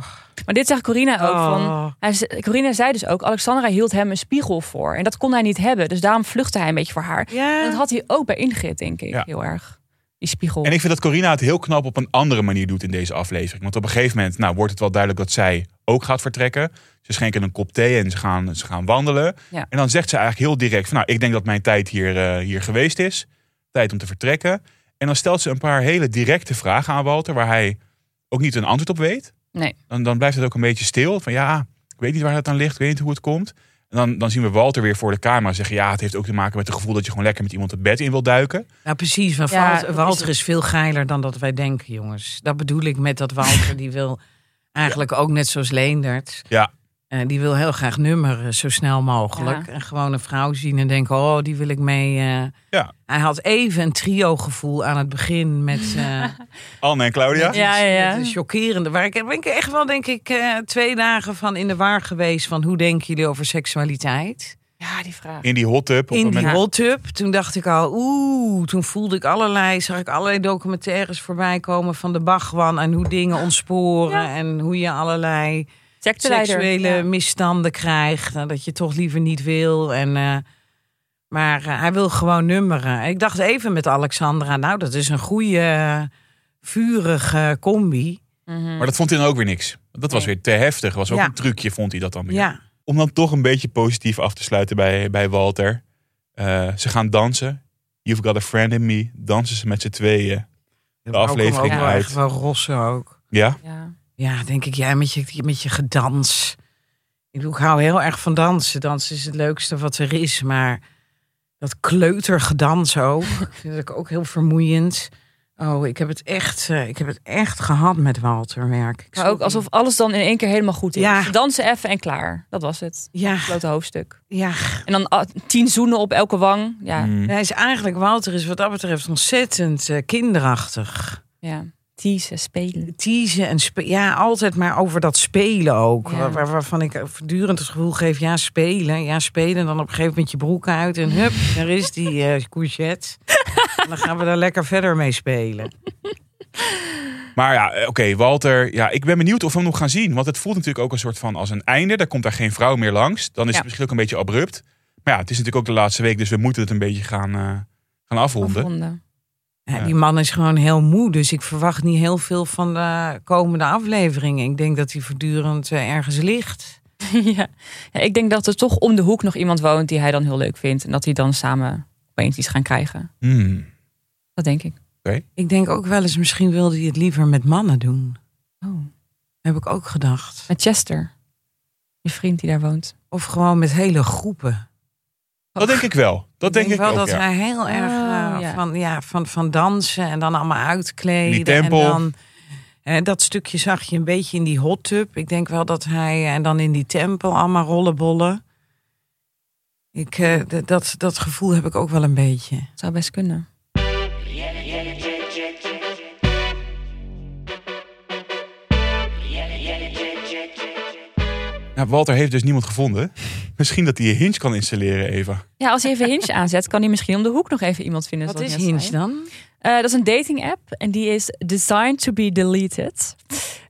Maar dit zegt Corina ook. Oh. Van, hij, ze- Corina zei dus ook, Alexandra hield hem een spiegel voor. En dat kon hij niet hebben. Dus daarom vluchtte hij een beetje voor haar. En Ja. dat had hij ook bij Ingrid, denk ik, Ja. heel erg. Die spiegel. En ik vind dat Corina het heel knap op een andere manier doet in deze aflevering. Want op een gegeven moment nou, wordt het wel duidelijk dat zij ook gaat vertrekken. Ze schenken een kop thee en ze gaan, ze gaan wandelen. Ja. En dan zegt ze eigenlijk heel direct van... nou, ik denk dat mijn tijd hier, eh, hier geweest is. Tijd om te vertrekken. En dan stelt ze een paar hele directe vragen aan Walter... waar hij ook niet een antwoord op weet. Nee. Dan, dan blijft het ook een beetje stil. Van ja, ik weet niet waar dat aan ligt. Ik weet niet hoe het komt. En dan, dan zien we Walter weer voor de camera zeggen... ja, het heeft ook te maken met het gevoel dat je gewoon lekker met iemand het bed in wil duiken. Nou, precies. Want Ja, Walter, dat is Walter het. is veel geiler dan dat wij denken, jongens. Dat bedoel ik met dat Walter, die wil eigenlijk ook net zoals Leendert. Ja. Eh, die wil heel graag nummeren zo snel mogelijk. Ja. En gewoon een vrouw zien en denken, oh, die wil ik mee. eh. Ja. Hij had even een trio gevoel aan het begin met... eh, Anne en Claudia. Ja, ja, ja. Het is chockerende. Waar ik ben ik echt wel, denk ik, eh, twee dagen van in de war geweest. Van hoe denken jullie over seksualiteit? Ja, die vraag. In die hot tub. Op In een die moment- hot tub. Toen dacht ik al, oeh. Toen voelde ik allerlei, zag ik allerlei documentaires voorbij komen van de Bachwan. En hoe dingen ontsporen. Ja. En hoe je allerlei Secteleider. seksuele Ja. misstanden krijgt. En dat je toch liever niet wil. En, eh, maar eh, hij wil gewoon nummeren. Ik dacht even met Alexandra, nou dat is een goede, eh, vurige combi. Mhm. Maar dat vond hij dan ook weer niks. Dat was Nee. weer te heftig. Was ook Ja. een trucje, vond hij dat dan weer. Ja. Om dan toch een beetje positief af te sluiten bij, bij Walter. Eh, ze gaan dansen. You've got a friend in me. Dansen ze met z'n tweeën. De aflevering ook wel uit. Echt wel rossen ook. Ja? Ja. Ja, denk ik, jij met je, met je gedans. Ik, bedoel, ik hou heel erg van dansen. Dansen is het leukste wat er is, maar dat kleutergedans ook. [laughs] vind ik ook heel vermoeiend. Oh, ik heb het echt, eh, ik heb het echt gehad met Walter, merk ik. Maar ook alsof alles dan in één keer helemaal goed is. Ja. Dansen even en klaar. Dat was het. Ja, Het grote hoofdstuk. ja. En dan ah, tien zoenen op elke wang. Ja, Mm. Hij is eigenlijk, Walter is wat dat betreft ontzettend eh, kinderachtig. ja. Teasen, spelen. teasen en spe- ja, altijd maar over dat spelen ook. Ja. Waar- waar- waarvan ik voortdurend het gevoel geef, ja, spelen, ja, spelen. En dan op een gegeven moment je broek uit en hup, daar is die eh courgette. En dan gaan we daar lekker verder mee spelen. Maar ja, eh, oké, Walter. Ja, ik ben benieuwd of we hem nog gaan zien. Want het voelt natuurlijk ook een soort van als een einde. Daar komt daar geen vrouw meer langs. Dan is Ja. het misschien ook een beetje abrupt. Maar ja, het is natuurlijk ook de laatste week. Dus we moeten het een beetje gaan, eh, gaan afronden. Afronden. Ja, Ja. die man is gewoon heel moe, dus ik verwacht niet heel veel van de komende afleveringen. Ik denk dat hij voortdurend eh, ergens ligt. [laughs] ja. ja. Ik denk dat er toch om de hoek nog iemand woont die hij dan heel leuk vindt. En dat die dan samen opeens iets gaan krijgen. Hmm. Dat denk ik. Ik denk ook wel eens, misschien wilde hij het liever met mannen doen. Oh. Heb ik ook gedacht. Met Chester. Je vriend die daar woont. Of gewoon met hele groepen. Dat denk ik wel. Dat denk, ik wel ook, dat ja. hij heel erg Ah, eh, ja. Van, ja, van, van dansen en dan allemaal uitkleden. Die tempel. En dan, eh, dat stukje zag je een beetje in die hot tub. Ik denk wel dat hij eh, en dan in die tempel allemaal rollenbollen. Ik, eh, d- dat, dat gevoel heb ik ook wel een beetje. Dat zou best kunnen. Nou, Walter heeft dus niemand gevonden. Misschien dat hij een hinge kan installeren, Eva. Ja, als hij even [laughs] Hinge aanzet, kan hij misschien om de hoek nog even iemand vinden. Wat zoals is je net Hinge zei. dan? Eh, dat is een dating app en die is designed to be deleted.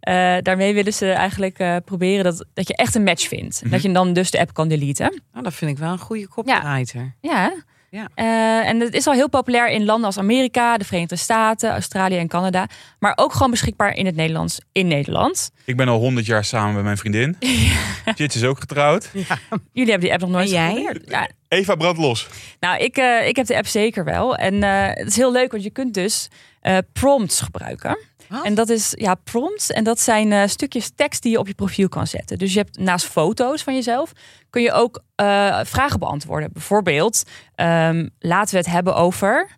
Eh, daarmee willen ze eigenlijk eh, proberen dat, dat je echt een match vindt. Mhm. en Dat je dan dus de app kan deleten. Nou, dat vind ik wel een goede copywriter. Ja. hè? Ja. Eh, en het is al heel populair in landen als Amerika, de Verenigde Staten, Australië en Canada. Maar ook gewoon beschikbaar in het Nederlands in Nederland. Ik ben al honderd jaar samen met mijn [laughs] vriendin. Jit is ook getrouwd. Jullie hebben die app nog nooit En jij? geprobeerd. Ja, Eva brandt los. Nou, ik, eh, ik heb de app zeker wel. En eh, het is heel leuk, want je kunt dus eh, prompts gebruiken. Wat? En dat is, ja, prompts. En dat zijn eh, stukjes tekst die je op je profiel kan zetten. Dus je hebt naast foto's van jezelf, kun je ook eh, vragen beantwoorden. Bijvoorbeeld, ehm, laten we het hebben over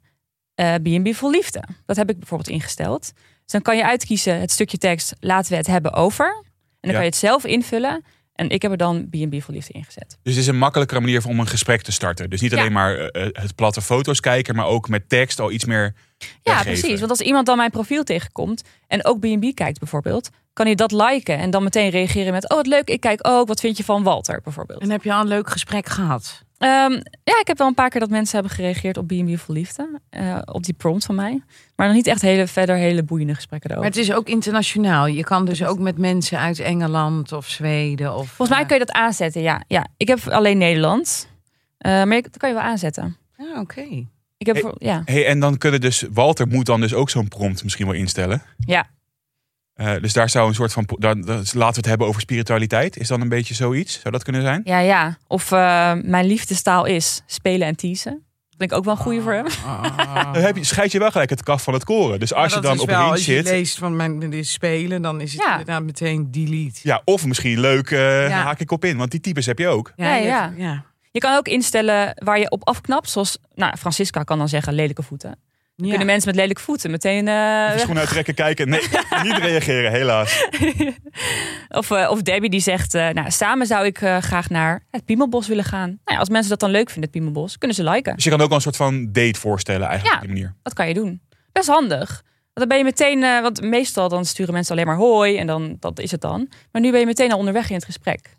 eh, B&B voor liefde. Dat heb ik bijvoorbeeld ingesteld. Dus dan kan je uitkiezen het stukje tekst, laten we het hebben over. En dan Ja. kan je het zelf invullen. En ik heb er dan B&B voor liefde ingezet. Dus het is een makkelijkere manier om een gesprek te starten. Dus niet Ja. alleen maar eh, eh, het platte foto's kijken, maar ook met tekst al iets meer. Ja, weggeven. precies. Want als iemand dan mijn profiel tegenkomt en ook B&B kijkt bijvoorbeeld, kan hij dat liken en dan meteen reageren met: "Oh, wat leuk, ik kijk ook. Wat vind je van Walter?" bijvoorbeeld. En heb je al een leuk gesprek gehad? Ehm, ja, ik heb wel een paar keer dat mensen hebben gereageerd op B&B voor liefde, eh, op die prompt van mij, maar nog niet echt hele verder hele boeiende gesprekken Maar daarover. het is ook internationaal. Je kan dus ook met mensen uit Engeland of Zweden. Of, eh, Volgens mij kun je dat aanzetten. Ja, ja. Ik heb alleen Nederland, Eh, maar je- dat kan je wel aanzetten. je... Ah, Oké. Ik heb Hey. voor- ja, Hey, en dan kunnen dus. Walter moet dan dus ook zo'n prompt misschien wel instellen. ja, Eh, dus daar zou een soort van. Dan, dan- laten we het hebben over spiritualiteit. Is dan een beetje zoiets? Zou dat kunnen zijn? ja, ja. Of eh, mijn liefdestaal is spelen en teasen. Dat vind ik ook wel een goede voor hem. Ah. Dan Eh, heb je, scheid je wel gelijk het kaf van het koren. Dus als Maar je dat dan is op wel, een Als je zit. leest van mijn dit is spelen, dan is het Ja. inderdaad meteen delete. Ja, of misschien leuk, eh, Ja. haak ik op in. Want die types heb je ook. Ja, je- ja. Je kan ook instellen waar je op afknapt. Zoals, nou, Francisca kan dan zeggen lelijke voeten. Ja. Kunnen mensen met lelijke voeten meteen eh, Even weg. schoenen uittrekken, [laughs] kijken. Nee, niet reageren, helaas. Of, eh, of Debbie die zegt, eh, nou, samen zou ik eh, graag naar het Piemelbos willen gaan. Nou ja, als mensen dat dan leuk vinden, het Piemelbos, kunnen ze liken. Dus je kan ook wel een soort van date voorstellen eigenlijk Ja. op die manier. Wat kan je doen? Best handig. Want dan ben je meteen, eh, want meestal dan sturen mensen alleen maar hoi en dan dat is het dan. Maar nu ben je meteen al onderweg in het gesprek.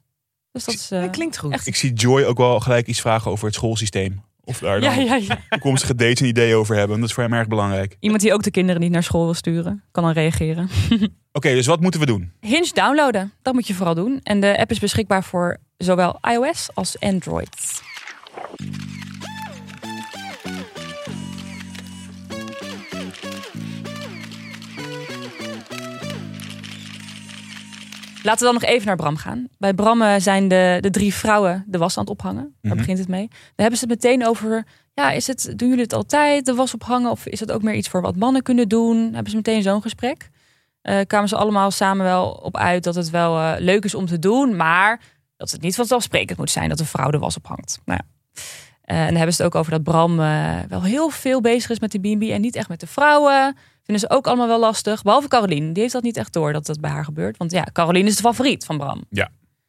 Dus dat is. eh, dat klinkt goed. echt- Ik zie Joy ook wel gelijk iets vragen over het schoolsysteem. Of daar ja, dan ja, ja. toekomstige dates een idee over hebben. want Dat is voor hem erg belangrijk. Oké, Iemand die ook de kinderen niet naar school wil sturen, kan dan reageren. dus wat moeten we doen? Hinge downloaden, dat moet je vooral doen. En de app is beschikbaar voor zowel iOS als Android. Laten we dan nog even naar Bram gaan. Bij Bram eh, zijn de, de drie vrouwen de was aan het ophangen. Daar Mhm. begint het mee. Dan hebben ze het meteen over... Ja, is het, doen jullie het altijd, de was ophangen? Of is dat ook meer iets voor wat mannen kunnen doen? Hebben ze meteen zo'n gesprek? eh kwamen ze allemaal samen wel op uit dat het wel eh, leuk is om te doen, maar dat het niet vanzelfsprekend moet zijn dat een vrouw de was ophangt. Nou, ja. Eh, en dan hebben ze het ook over dat Bram eh, wel heel veel bezig is met de B&B en niet echt met de vrouwen. Vinden ze ook allemaal wel lastig. Behalve Caroline, die heeft dat niet echt door dat dat bij haar gebeurt. Want ja, Caroline is de favoriet van Bram.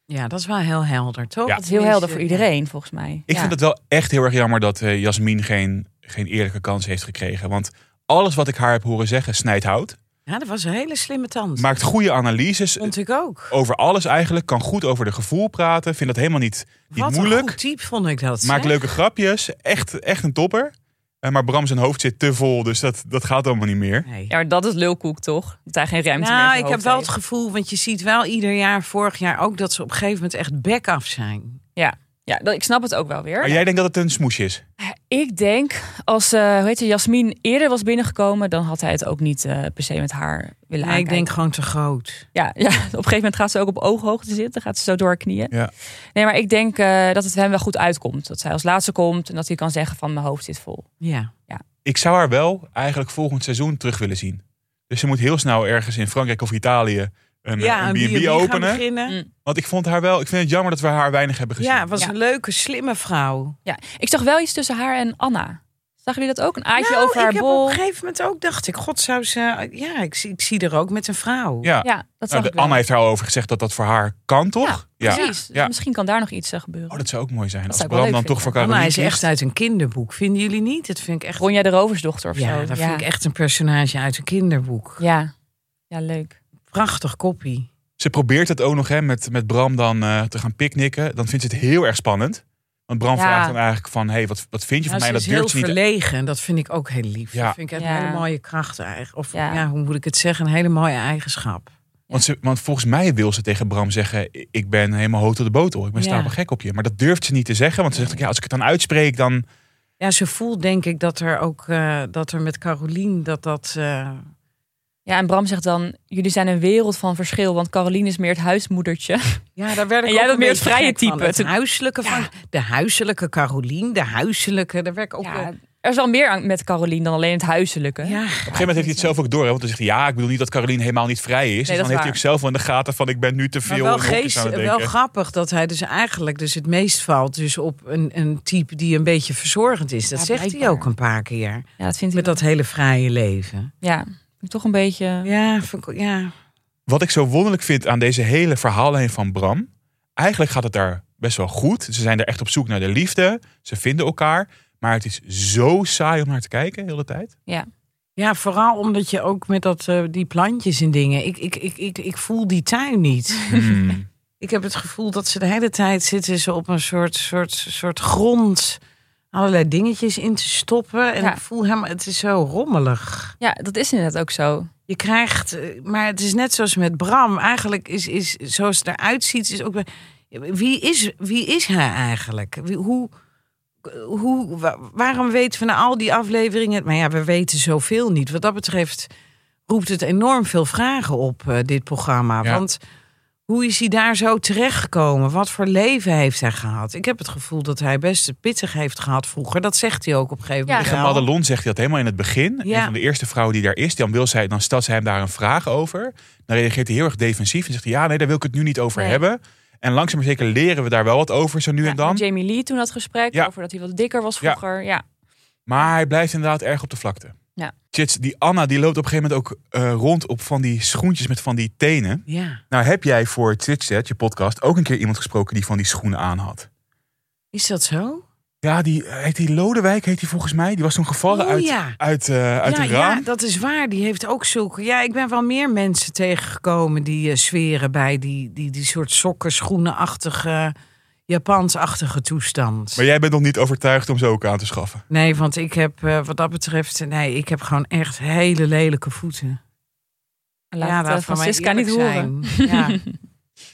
Ja, dat is wel heel helder, toch? Ja. Dat is heel helder voor iedereen, volgens mij. Ik Ja. vind het wel echt heel erg jammer dat eh, Jasmin geen, geen eerlijke kans heeft gekregen. Want alles wat ik haar heb horen zeggen snijdt hout. Ja, dat was een hele slimme tand. Maakt goede analyses Vond ik ook. over alles eigenlijk. Kan goed over de gevoel praten. Vind dat helemaal niet, niet Wat een moeilijk. goed type vond ik dat. Maakt zeg. leuke grapjes. Echt, echt een topper. Eh, maar Bram zijn hoofd zit te vol. Dus dat, dat gaat allemaal niet meer. Nee. Ja, maar dat is lulkoek, toch? Dat hij geen ruimte meer in Nou, zijn ik heb hoofd wel het heeft. gevoel, want je ziet wel ieder jaar, vorig jaar ook, dat ze op een gegeven moment echt bek af zijn. Ja, dat- ik snap het ook wel weer. Maar jij denkt dat het een smoesje is. Ik denk, als eh hoe heet ze, Jasmin eerder was binnengekomen, dan had hij het ook niet eh, per se met haar willen Nee, ik aankijken. denk gewoon te groot. ja, [laughs] ja, op een gegeven moment gaat ze ook op ooghoogte zitten, gaat ze zo door haar knieën. Ja. Nee, maar ik denk eh, dat het hem wel goed uitkomt. Dat zij als laatste komt en dat hij kan zeggen van mijn hoofd zit vol. Ja. Ik zou haar wel eigenlijk volgend seizoen terug willen zien. Dus ze moet heel snel ergens in Frankrijk of Italië een eh, ja, een B&B een B&B gaan openen. beginnen. Mm. Want ik vond haar wel. Ik vind het jammer dat we haar weinig hebben gezien. Ja, het was Ja. een leuke, slimme vrouw. Ja, ik zag wel iets tussen haar en Anna. Zagen jullie dat ook? Een aardje Nou, over haar ik heb op bol. een gegeven moment ook dacht ik, god zou ze... Ja, ik zie, ik zie er ook met een vrouw. Ja. Ja, dat zag Nou, de- ik wel. Anna heeft daar al over gezegd dat dat voor haar kan, toch? Ja, precies. Ja. Dus misschien kan daar nog iets eh, gebeuren. Oh, dat zou ook mooi zijn. Als zou ik wel Bram dan leuk toch voor vinden. Caroline Anna is kiest. echt uit een kinderboek. Vinden jullie niet? Dat vind ik echt... Ronja de Roversdochter of Ja, zo. dat vind ik echt een personage uit een kinderboek. ja. ja, leuk. Prachtig koppie. Ze probeert het ook nog hè, met, met Bram dan eh, te gaan picknicken. Dan vindt ze het heel erg spannend. Want Bram Ja. vraagt dan eigenlijk van... hey, wat, wat vind je Ja, van Nou, ze mij? is Dat heel durft ze niet. verlegen. Dat vind ik ook heel lief. Ja. Dat vind ik echt Ja. een hele mooie kracht eigenlijk. Of Ja. ja. hoe moet ik het zeggen? Een hele mooie eigenschap. Want, ze, want volgens mij wil ze tegen Bram zeggen... ik ben helemaal hoog tot de botel. Ik ben Ja. stapel gek op je. Maar dat durft ze niet te zeggen. Want ze zegt ook, ja, als ik het dan uitspreek... dan Ja, ze voelt denk ik dat er ook... eh, dat er met Carolien dat dat... eh, Ja, en Bram zegt dan: Jullie zijn een wereld van verschil, want Caroline is meer het huismoedertje. [laughs] Ja, daar werd ik En jij ook bent een meer het beetje vrije gek van. type. Het Het- huiselijke Ja. van de huiselijke Carolien, de huiselijke. Daar werd ik ook. Ja, Ja, er is wel meer aan met Caroline dan alleen het huiselijke. ja. Op een gegeven moment heeft hij het zelf ook door. Hè? Want dan zegt hij, ja, ik bedoel niet dat Caroline helemaal niet vrij is. dus dat dan is heeft waar. hij ook zelf wel in de gaten van... ik ben nu te Maar veel wel, in hokjes geest, aan het wel denken. grappig dat hij dus eigenlijk dus het meest valt dus op een, een type die een beetje verzorgend is. Dat Ja, zegt hij blijkbaar. ook een paar keer. Ja, dat vindt hij. Met dat hele vrije leven. Ja, toch een beetje. Ja, vind ik- ja. Wat ik zo wonderlijk vind aan deze hele verhaallijn van Bram. Eigenlijk gaat het daar best wel goed. Ze zijn er echt op zoek naar de liefde. Ze vinden elkaar. Maar het is zo saai om naar te kijken, heel de tijd. ja, vooral omdat je ook met dat, eh, die plantjes en dingen. Ik, ik, ik, ik, ik voel die tuin niet. [laughs] Ik heb het gevoel dat ze de hele tijd zitten ze op een soort, soort, soort grond allerlei dingetjes in te stoppen. En Ja. ik voel helemaal, het is zo rommelig. Ja, dat is inderdaad ook zo. Je krijgt, eh, maar het is net zoals met Bram. Eigenlijk is, is zoals het eruit ziet, is ook weer- wie is, wie is hij eigenlijk? Wie, hoe, hoe, wa- waarom weten we na al die afleveringen? Maar ja, we weten zoveel niet. Wat dat betreft roept het enorm veel vragen op, eh, dit programma. Ja. Want hoe is hij daar zo terechtgekomen? Wat voor leven heeft hij gehad? Ik heb het gevoel dat hij best het pittig heeft gehad vroeger. Dat zegt hij ook op een Ja. gegeven moment. Tegen wel. Nou, Madelon zegt hij dat helemaal in het begin. Ja. Een van de eerste vrouwen die daar is. Dan, wil zij, dan stelt zij hem daar een vraag over. Dan reageert hij heel erg defensief. En zegt hij, ja, nee, daar wil ik het nu niet over Nee. hebben. En langzaam maar zeker leren we daar wel wat over, zo nu Ja, en dan. met Jamie Lee toen dat gesprek Ja. over dat hij wat dikker was Ja. vroeger. Ja. Maar hij blijft inderdaad erg op de vlakte. Ja. Chits, die Anna die loopt op een gegeven moment ook eh, rond op van die schoentjes met van die tenen. Ja. Nou heb jij voor Chitchat, je podcast, ook een keer iemand gesproken die van die schoenen aan had. Is dat zo? Ja, die eh, heet die Lodewijk, heet die volgens mij. Die was toen gevallen Oh, uit, ja. uit, eh, uit ja, een raam. ja, dat is waar. Die heeft ook zulke. Ja, ik ben wel meer mensen tegengekomen die eh sferen bij die, die, die soort sokken, schoenenachtige, Japans-achtige toestand. Maar jij bent nog niet overtuigd om ze ook aan te schaffen. Nee, want ik heb eh, wat dat betreft, nee, ik heb gewoon echt hele lelijke voeten. Laat ja, het, eh, laat van mij Francisca niet eerlijk horen. zijn. [laughs] Ja.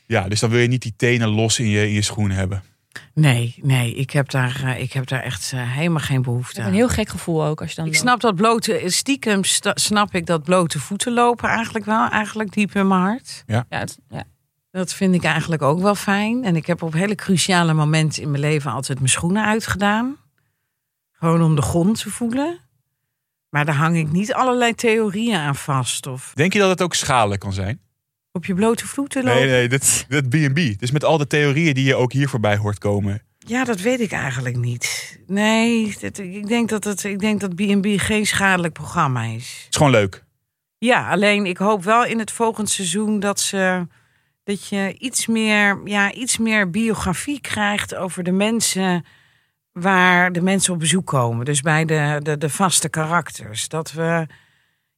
Ja, dus dan wil je niet die tenen los in je, in je schoen hebben. Nee, nee, ik heb daar, eh, ik heb daar echt eh, helemaal geen Ik behoefte heb aan. een heel gek gevoel ook als je dan. Ik loopt. snap dat blote, stiekem sta- snap ik dat blote voeten lopen eigenlijk wel, eigenlijk diep in mijn hart. Ja, het- ja. Dat vind ik eigenlijk ook wel fijn. En ik heb op hele cruciale momenten in mijn leven altijd mijn schoenen uitgedaan. Gewoon om de grond te voelen. Maar daar hang ik niet allerlei theorieën aan vast. Of Denk je dat het ook schadelijk kan zijn? op je blote voeten lopen. Nee, nee, dit, dit B&B. Dus met al de theorieën die je ook hier voorbij hoort komen. Ja, dat weet ik eigenlijk niet. Nee, dat- ik denk dat het, ik denk dat B&B geen schadelijk programma is. Het is gewoon leuk. Ja, alleen ik hoop wel in het volgende seizoen dat ze dat je iets meer, ja, iets meer biografie krijgt over de mensen waar de mensen op bezoek komen. Dus bij de, de, de vaste karakters. Dat we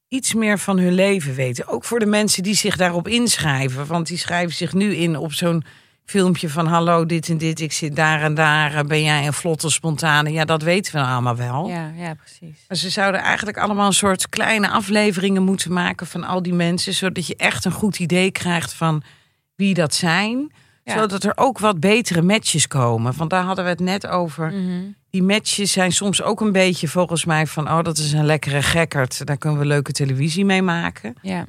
iets meer van hun leven weten. Ook voor de mensen die zich daarop inschrijven. Want die schrijven zich nu in op zo'n filmpje van hallo, dit en dit, ik zit daar en daar. Ben jij een vlotte spontane? Ja, dat weten we allemaal wel. Ja, ja, precies. Maar ze zouden eigenlijk allemaal een soort kleine afleveringen moeten maken van al die mensen. Zodat je echt een goed idee krijgt van wie dat zijn. Ja. Zodat er ook wat betere matches komen. Want daar hadden we het net over. Mhm. Die matches zijn soms ook een beetje volgens mij van... oh, dat is een lekkere gekkerd. Daar kunnen we leuke televisie mee maken. Ja.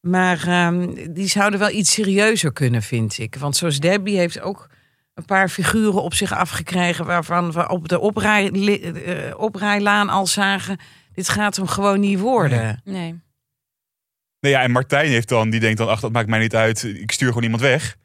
Maar ehm, die zouden wel iets serieuzer kunnen, vind ik. Want zoals Debbie heeft ook een paar figuren op zich afgekregen... waarvan we op de oprij, li- eh, oprijlaan al zagen... dit gaat hem gewoon niet worden. Nee. Nou ja, en Martijn heeft dan, die denkt dan, ach, dat maakt mij niet uit. Ik stuur gewoon iemand weg.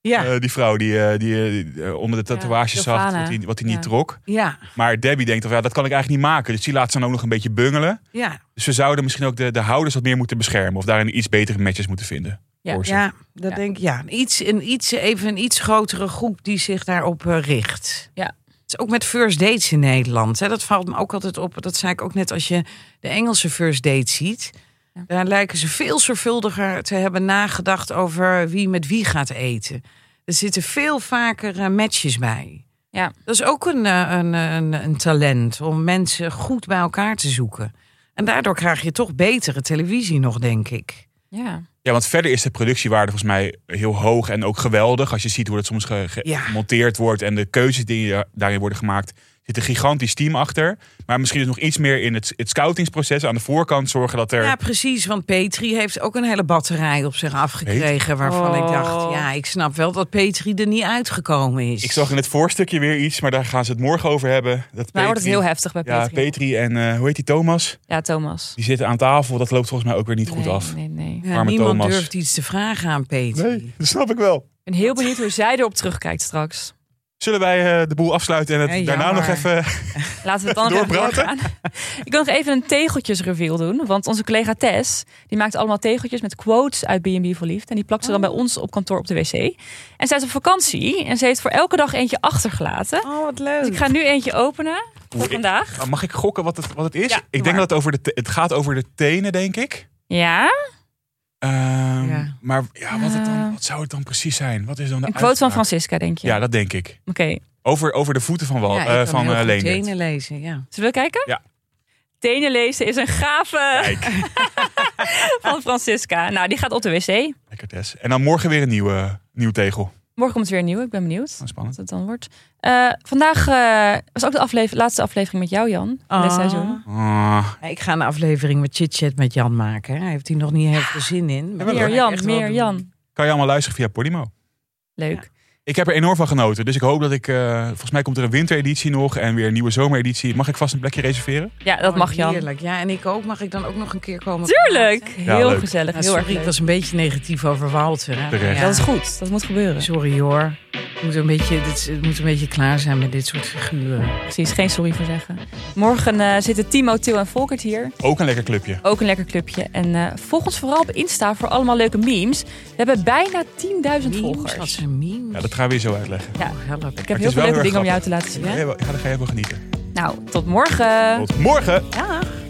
Ja, Eh, die vrouw die, eh, die eh, onder de Ja, tatoeages zag Giovanna. wat hij wat hij niet Ja. trok. ja, Maar Debbie denkt, of, ja, dat kan ik eigenlijk niet maken. Dus die laat ze dan ook nog een beetje bungelen. ja, Dus we zouden misschien ook de, de houders wat meer moeten beschermen. Of daarin iets betere matches moeten vinden. Ja. voor ze. ja. Dat Ja. denk ik, ja. Iets, een, iets, even een iets grotere groep die zich daarop eh, richt. Ja. Het is ook met first dates in Nederland. Hè. Dat valt me ook altijd op. Dat zei ik ook net als je de Engelse first dates ziet. Ja. Daar lijken ze veel zorgvuldiger te hebben nagedacht over wie met wie gaat eten. Er zitten veel vaker eh, matches bij. Ja. Dat is ook een, eh, een, een, een talent om mensen goed bij elkaar te zoeken. En daardoor krijg je toch betere televisie nog, denk ik. Ja. Ja, want verder is de productiewaarde volgens mij heel hoog en ook geweldig. Als je ziet hoe dat soms ge- ge- Ja. gemonteerd wordt en de keuzes die daar- daarin worden gemaakt. zit een gigantisch team achter. Maar misschien is nog iets meer in het, het scoutingsproces aan de voorkant zorgen dat er... Ja, precies. Want Petri heeft ook een hele batterij op zich afgekregen. Waarvan ik dacht, Oh. ja, ik snap wel dat Petri er niet uitgekomen is. Ik zag in het voorstukje weer iets, maar daar gaan ze het morgen over hebben. Dat Nou wordt het heel Petri- heftig bij Ja, Petri. Petri en eh, hoe heet die Thomas? Ja, Thomas. Die zitten aan tafel. Dat loopt volgens mij ook weer niet goed Nee, af. Nee, nee. Ja, Arme niemand Thomas. durft iets te vragen aan Petri. Nee, dat snap ik wel. Ik ben heel benieuwd hoe zij erop terugkijkt straks. Zullen wij eh, de boel afsluiten en het Nee, daarna nog jammer. even... Laten we het dan nog even Doorpraten? doorgaan. [laughs] Ik wil nog even een tegeltjesreveal doen. Want onze collega Tess, die maakt allemaal tegeltjes met quotes uit B&B voor Liefde. En die plakt ze dan bij ons op kantoor op de wc. En zij is op vakantie en ze heeft voor elke dag eentje achtergelaten. Oh, wat leuk. Dus ik ga nu eentje openen voor Oeh, ik- vandaag. Ah, Mag ik gokken wat het, wat het is? Ja, ik denk maar. dat het, over de te- het gaat over de tenen, denk ik. Ja, Ehm, Ja. Maar ja, wat, het dan, Eh. wat zou het dan precies zijn? Wat is dan de een quote van uitspraak? Francisca, denk je? Ja, dat denk ik. Oké, Over, over de voeten van, Wal, Ja, ik eh, kan van heel eh, goed Leendert. tenen lezen, ja. zullen we kijken? Ja. Tenen lezen is een gave Kijk, [laughs] [laughs] van Francisca. Nou, die gaat op de wc. lekker Tess. En dan morgen weer een nieuwe, nieuw tegel. Morgen komt er weer een nieuwe, ik ben benieuwd. Oh, spannend. wat het dan wordt. Eh, vandaag eh, was ook de aflever- laatste aflevering met jou, Jan. Van dit Ah. seizoen. Ah, Ja, Ik ga een aflevering met Chit Chat met Jan maken. Hij heeft hier nog niet heel veel zin in. Maar Jawel, dat Meer ga ik Jan, echt wel meer doen. Jan. kan je allemaal luisteren via Podimo. Leuk. Ik heb er enorm van genoten. Dus ik hoop dat ik... eh, volgens mij komt er een wintereditie nog en weer een nieuwe zomereditie. Mag ik vast een plekje reserveren? Ja, dat Oh, mag Jan. Heerlijk. Ja, en ik ook. Mag ik dan ook nog een keer komen? Tuurlijk. Ja, Heel leuk. gezellig, Ja, heel erg sorry, ik leuk. was een beetje negatief over Walter. hè. Terecht. Ja. Dat is goed, dat moet gebeuren. Sorry hoor. moet een beetje, dit, is- het moet een beetje klaar zijn met dit soort figuren. Precies, geen sorry voor zeggen. Morgen eh, zitten Timo, Til en Volkert hier. Ook een lekker clubje. Ook een lekker clubje. En eh, volg ons vooral op Insta voor allemaal leuke memes. We hebben bijna 10.000 Memes, wat volgers. zijn memes? Ja, dat gaan we je zo uitleggen. Ja. Oh, help. Ik heb het heel veel is wel leuke heel dingen om erg jou te laten zien. Ja, hè? daar ga je even genieten. Nou, tot morgen. Tot morgen! Dag.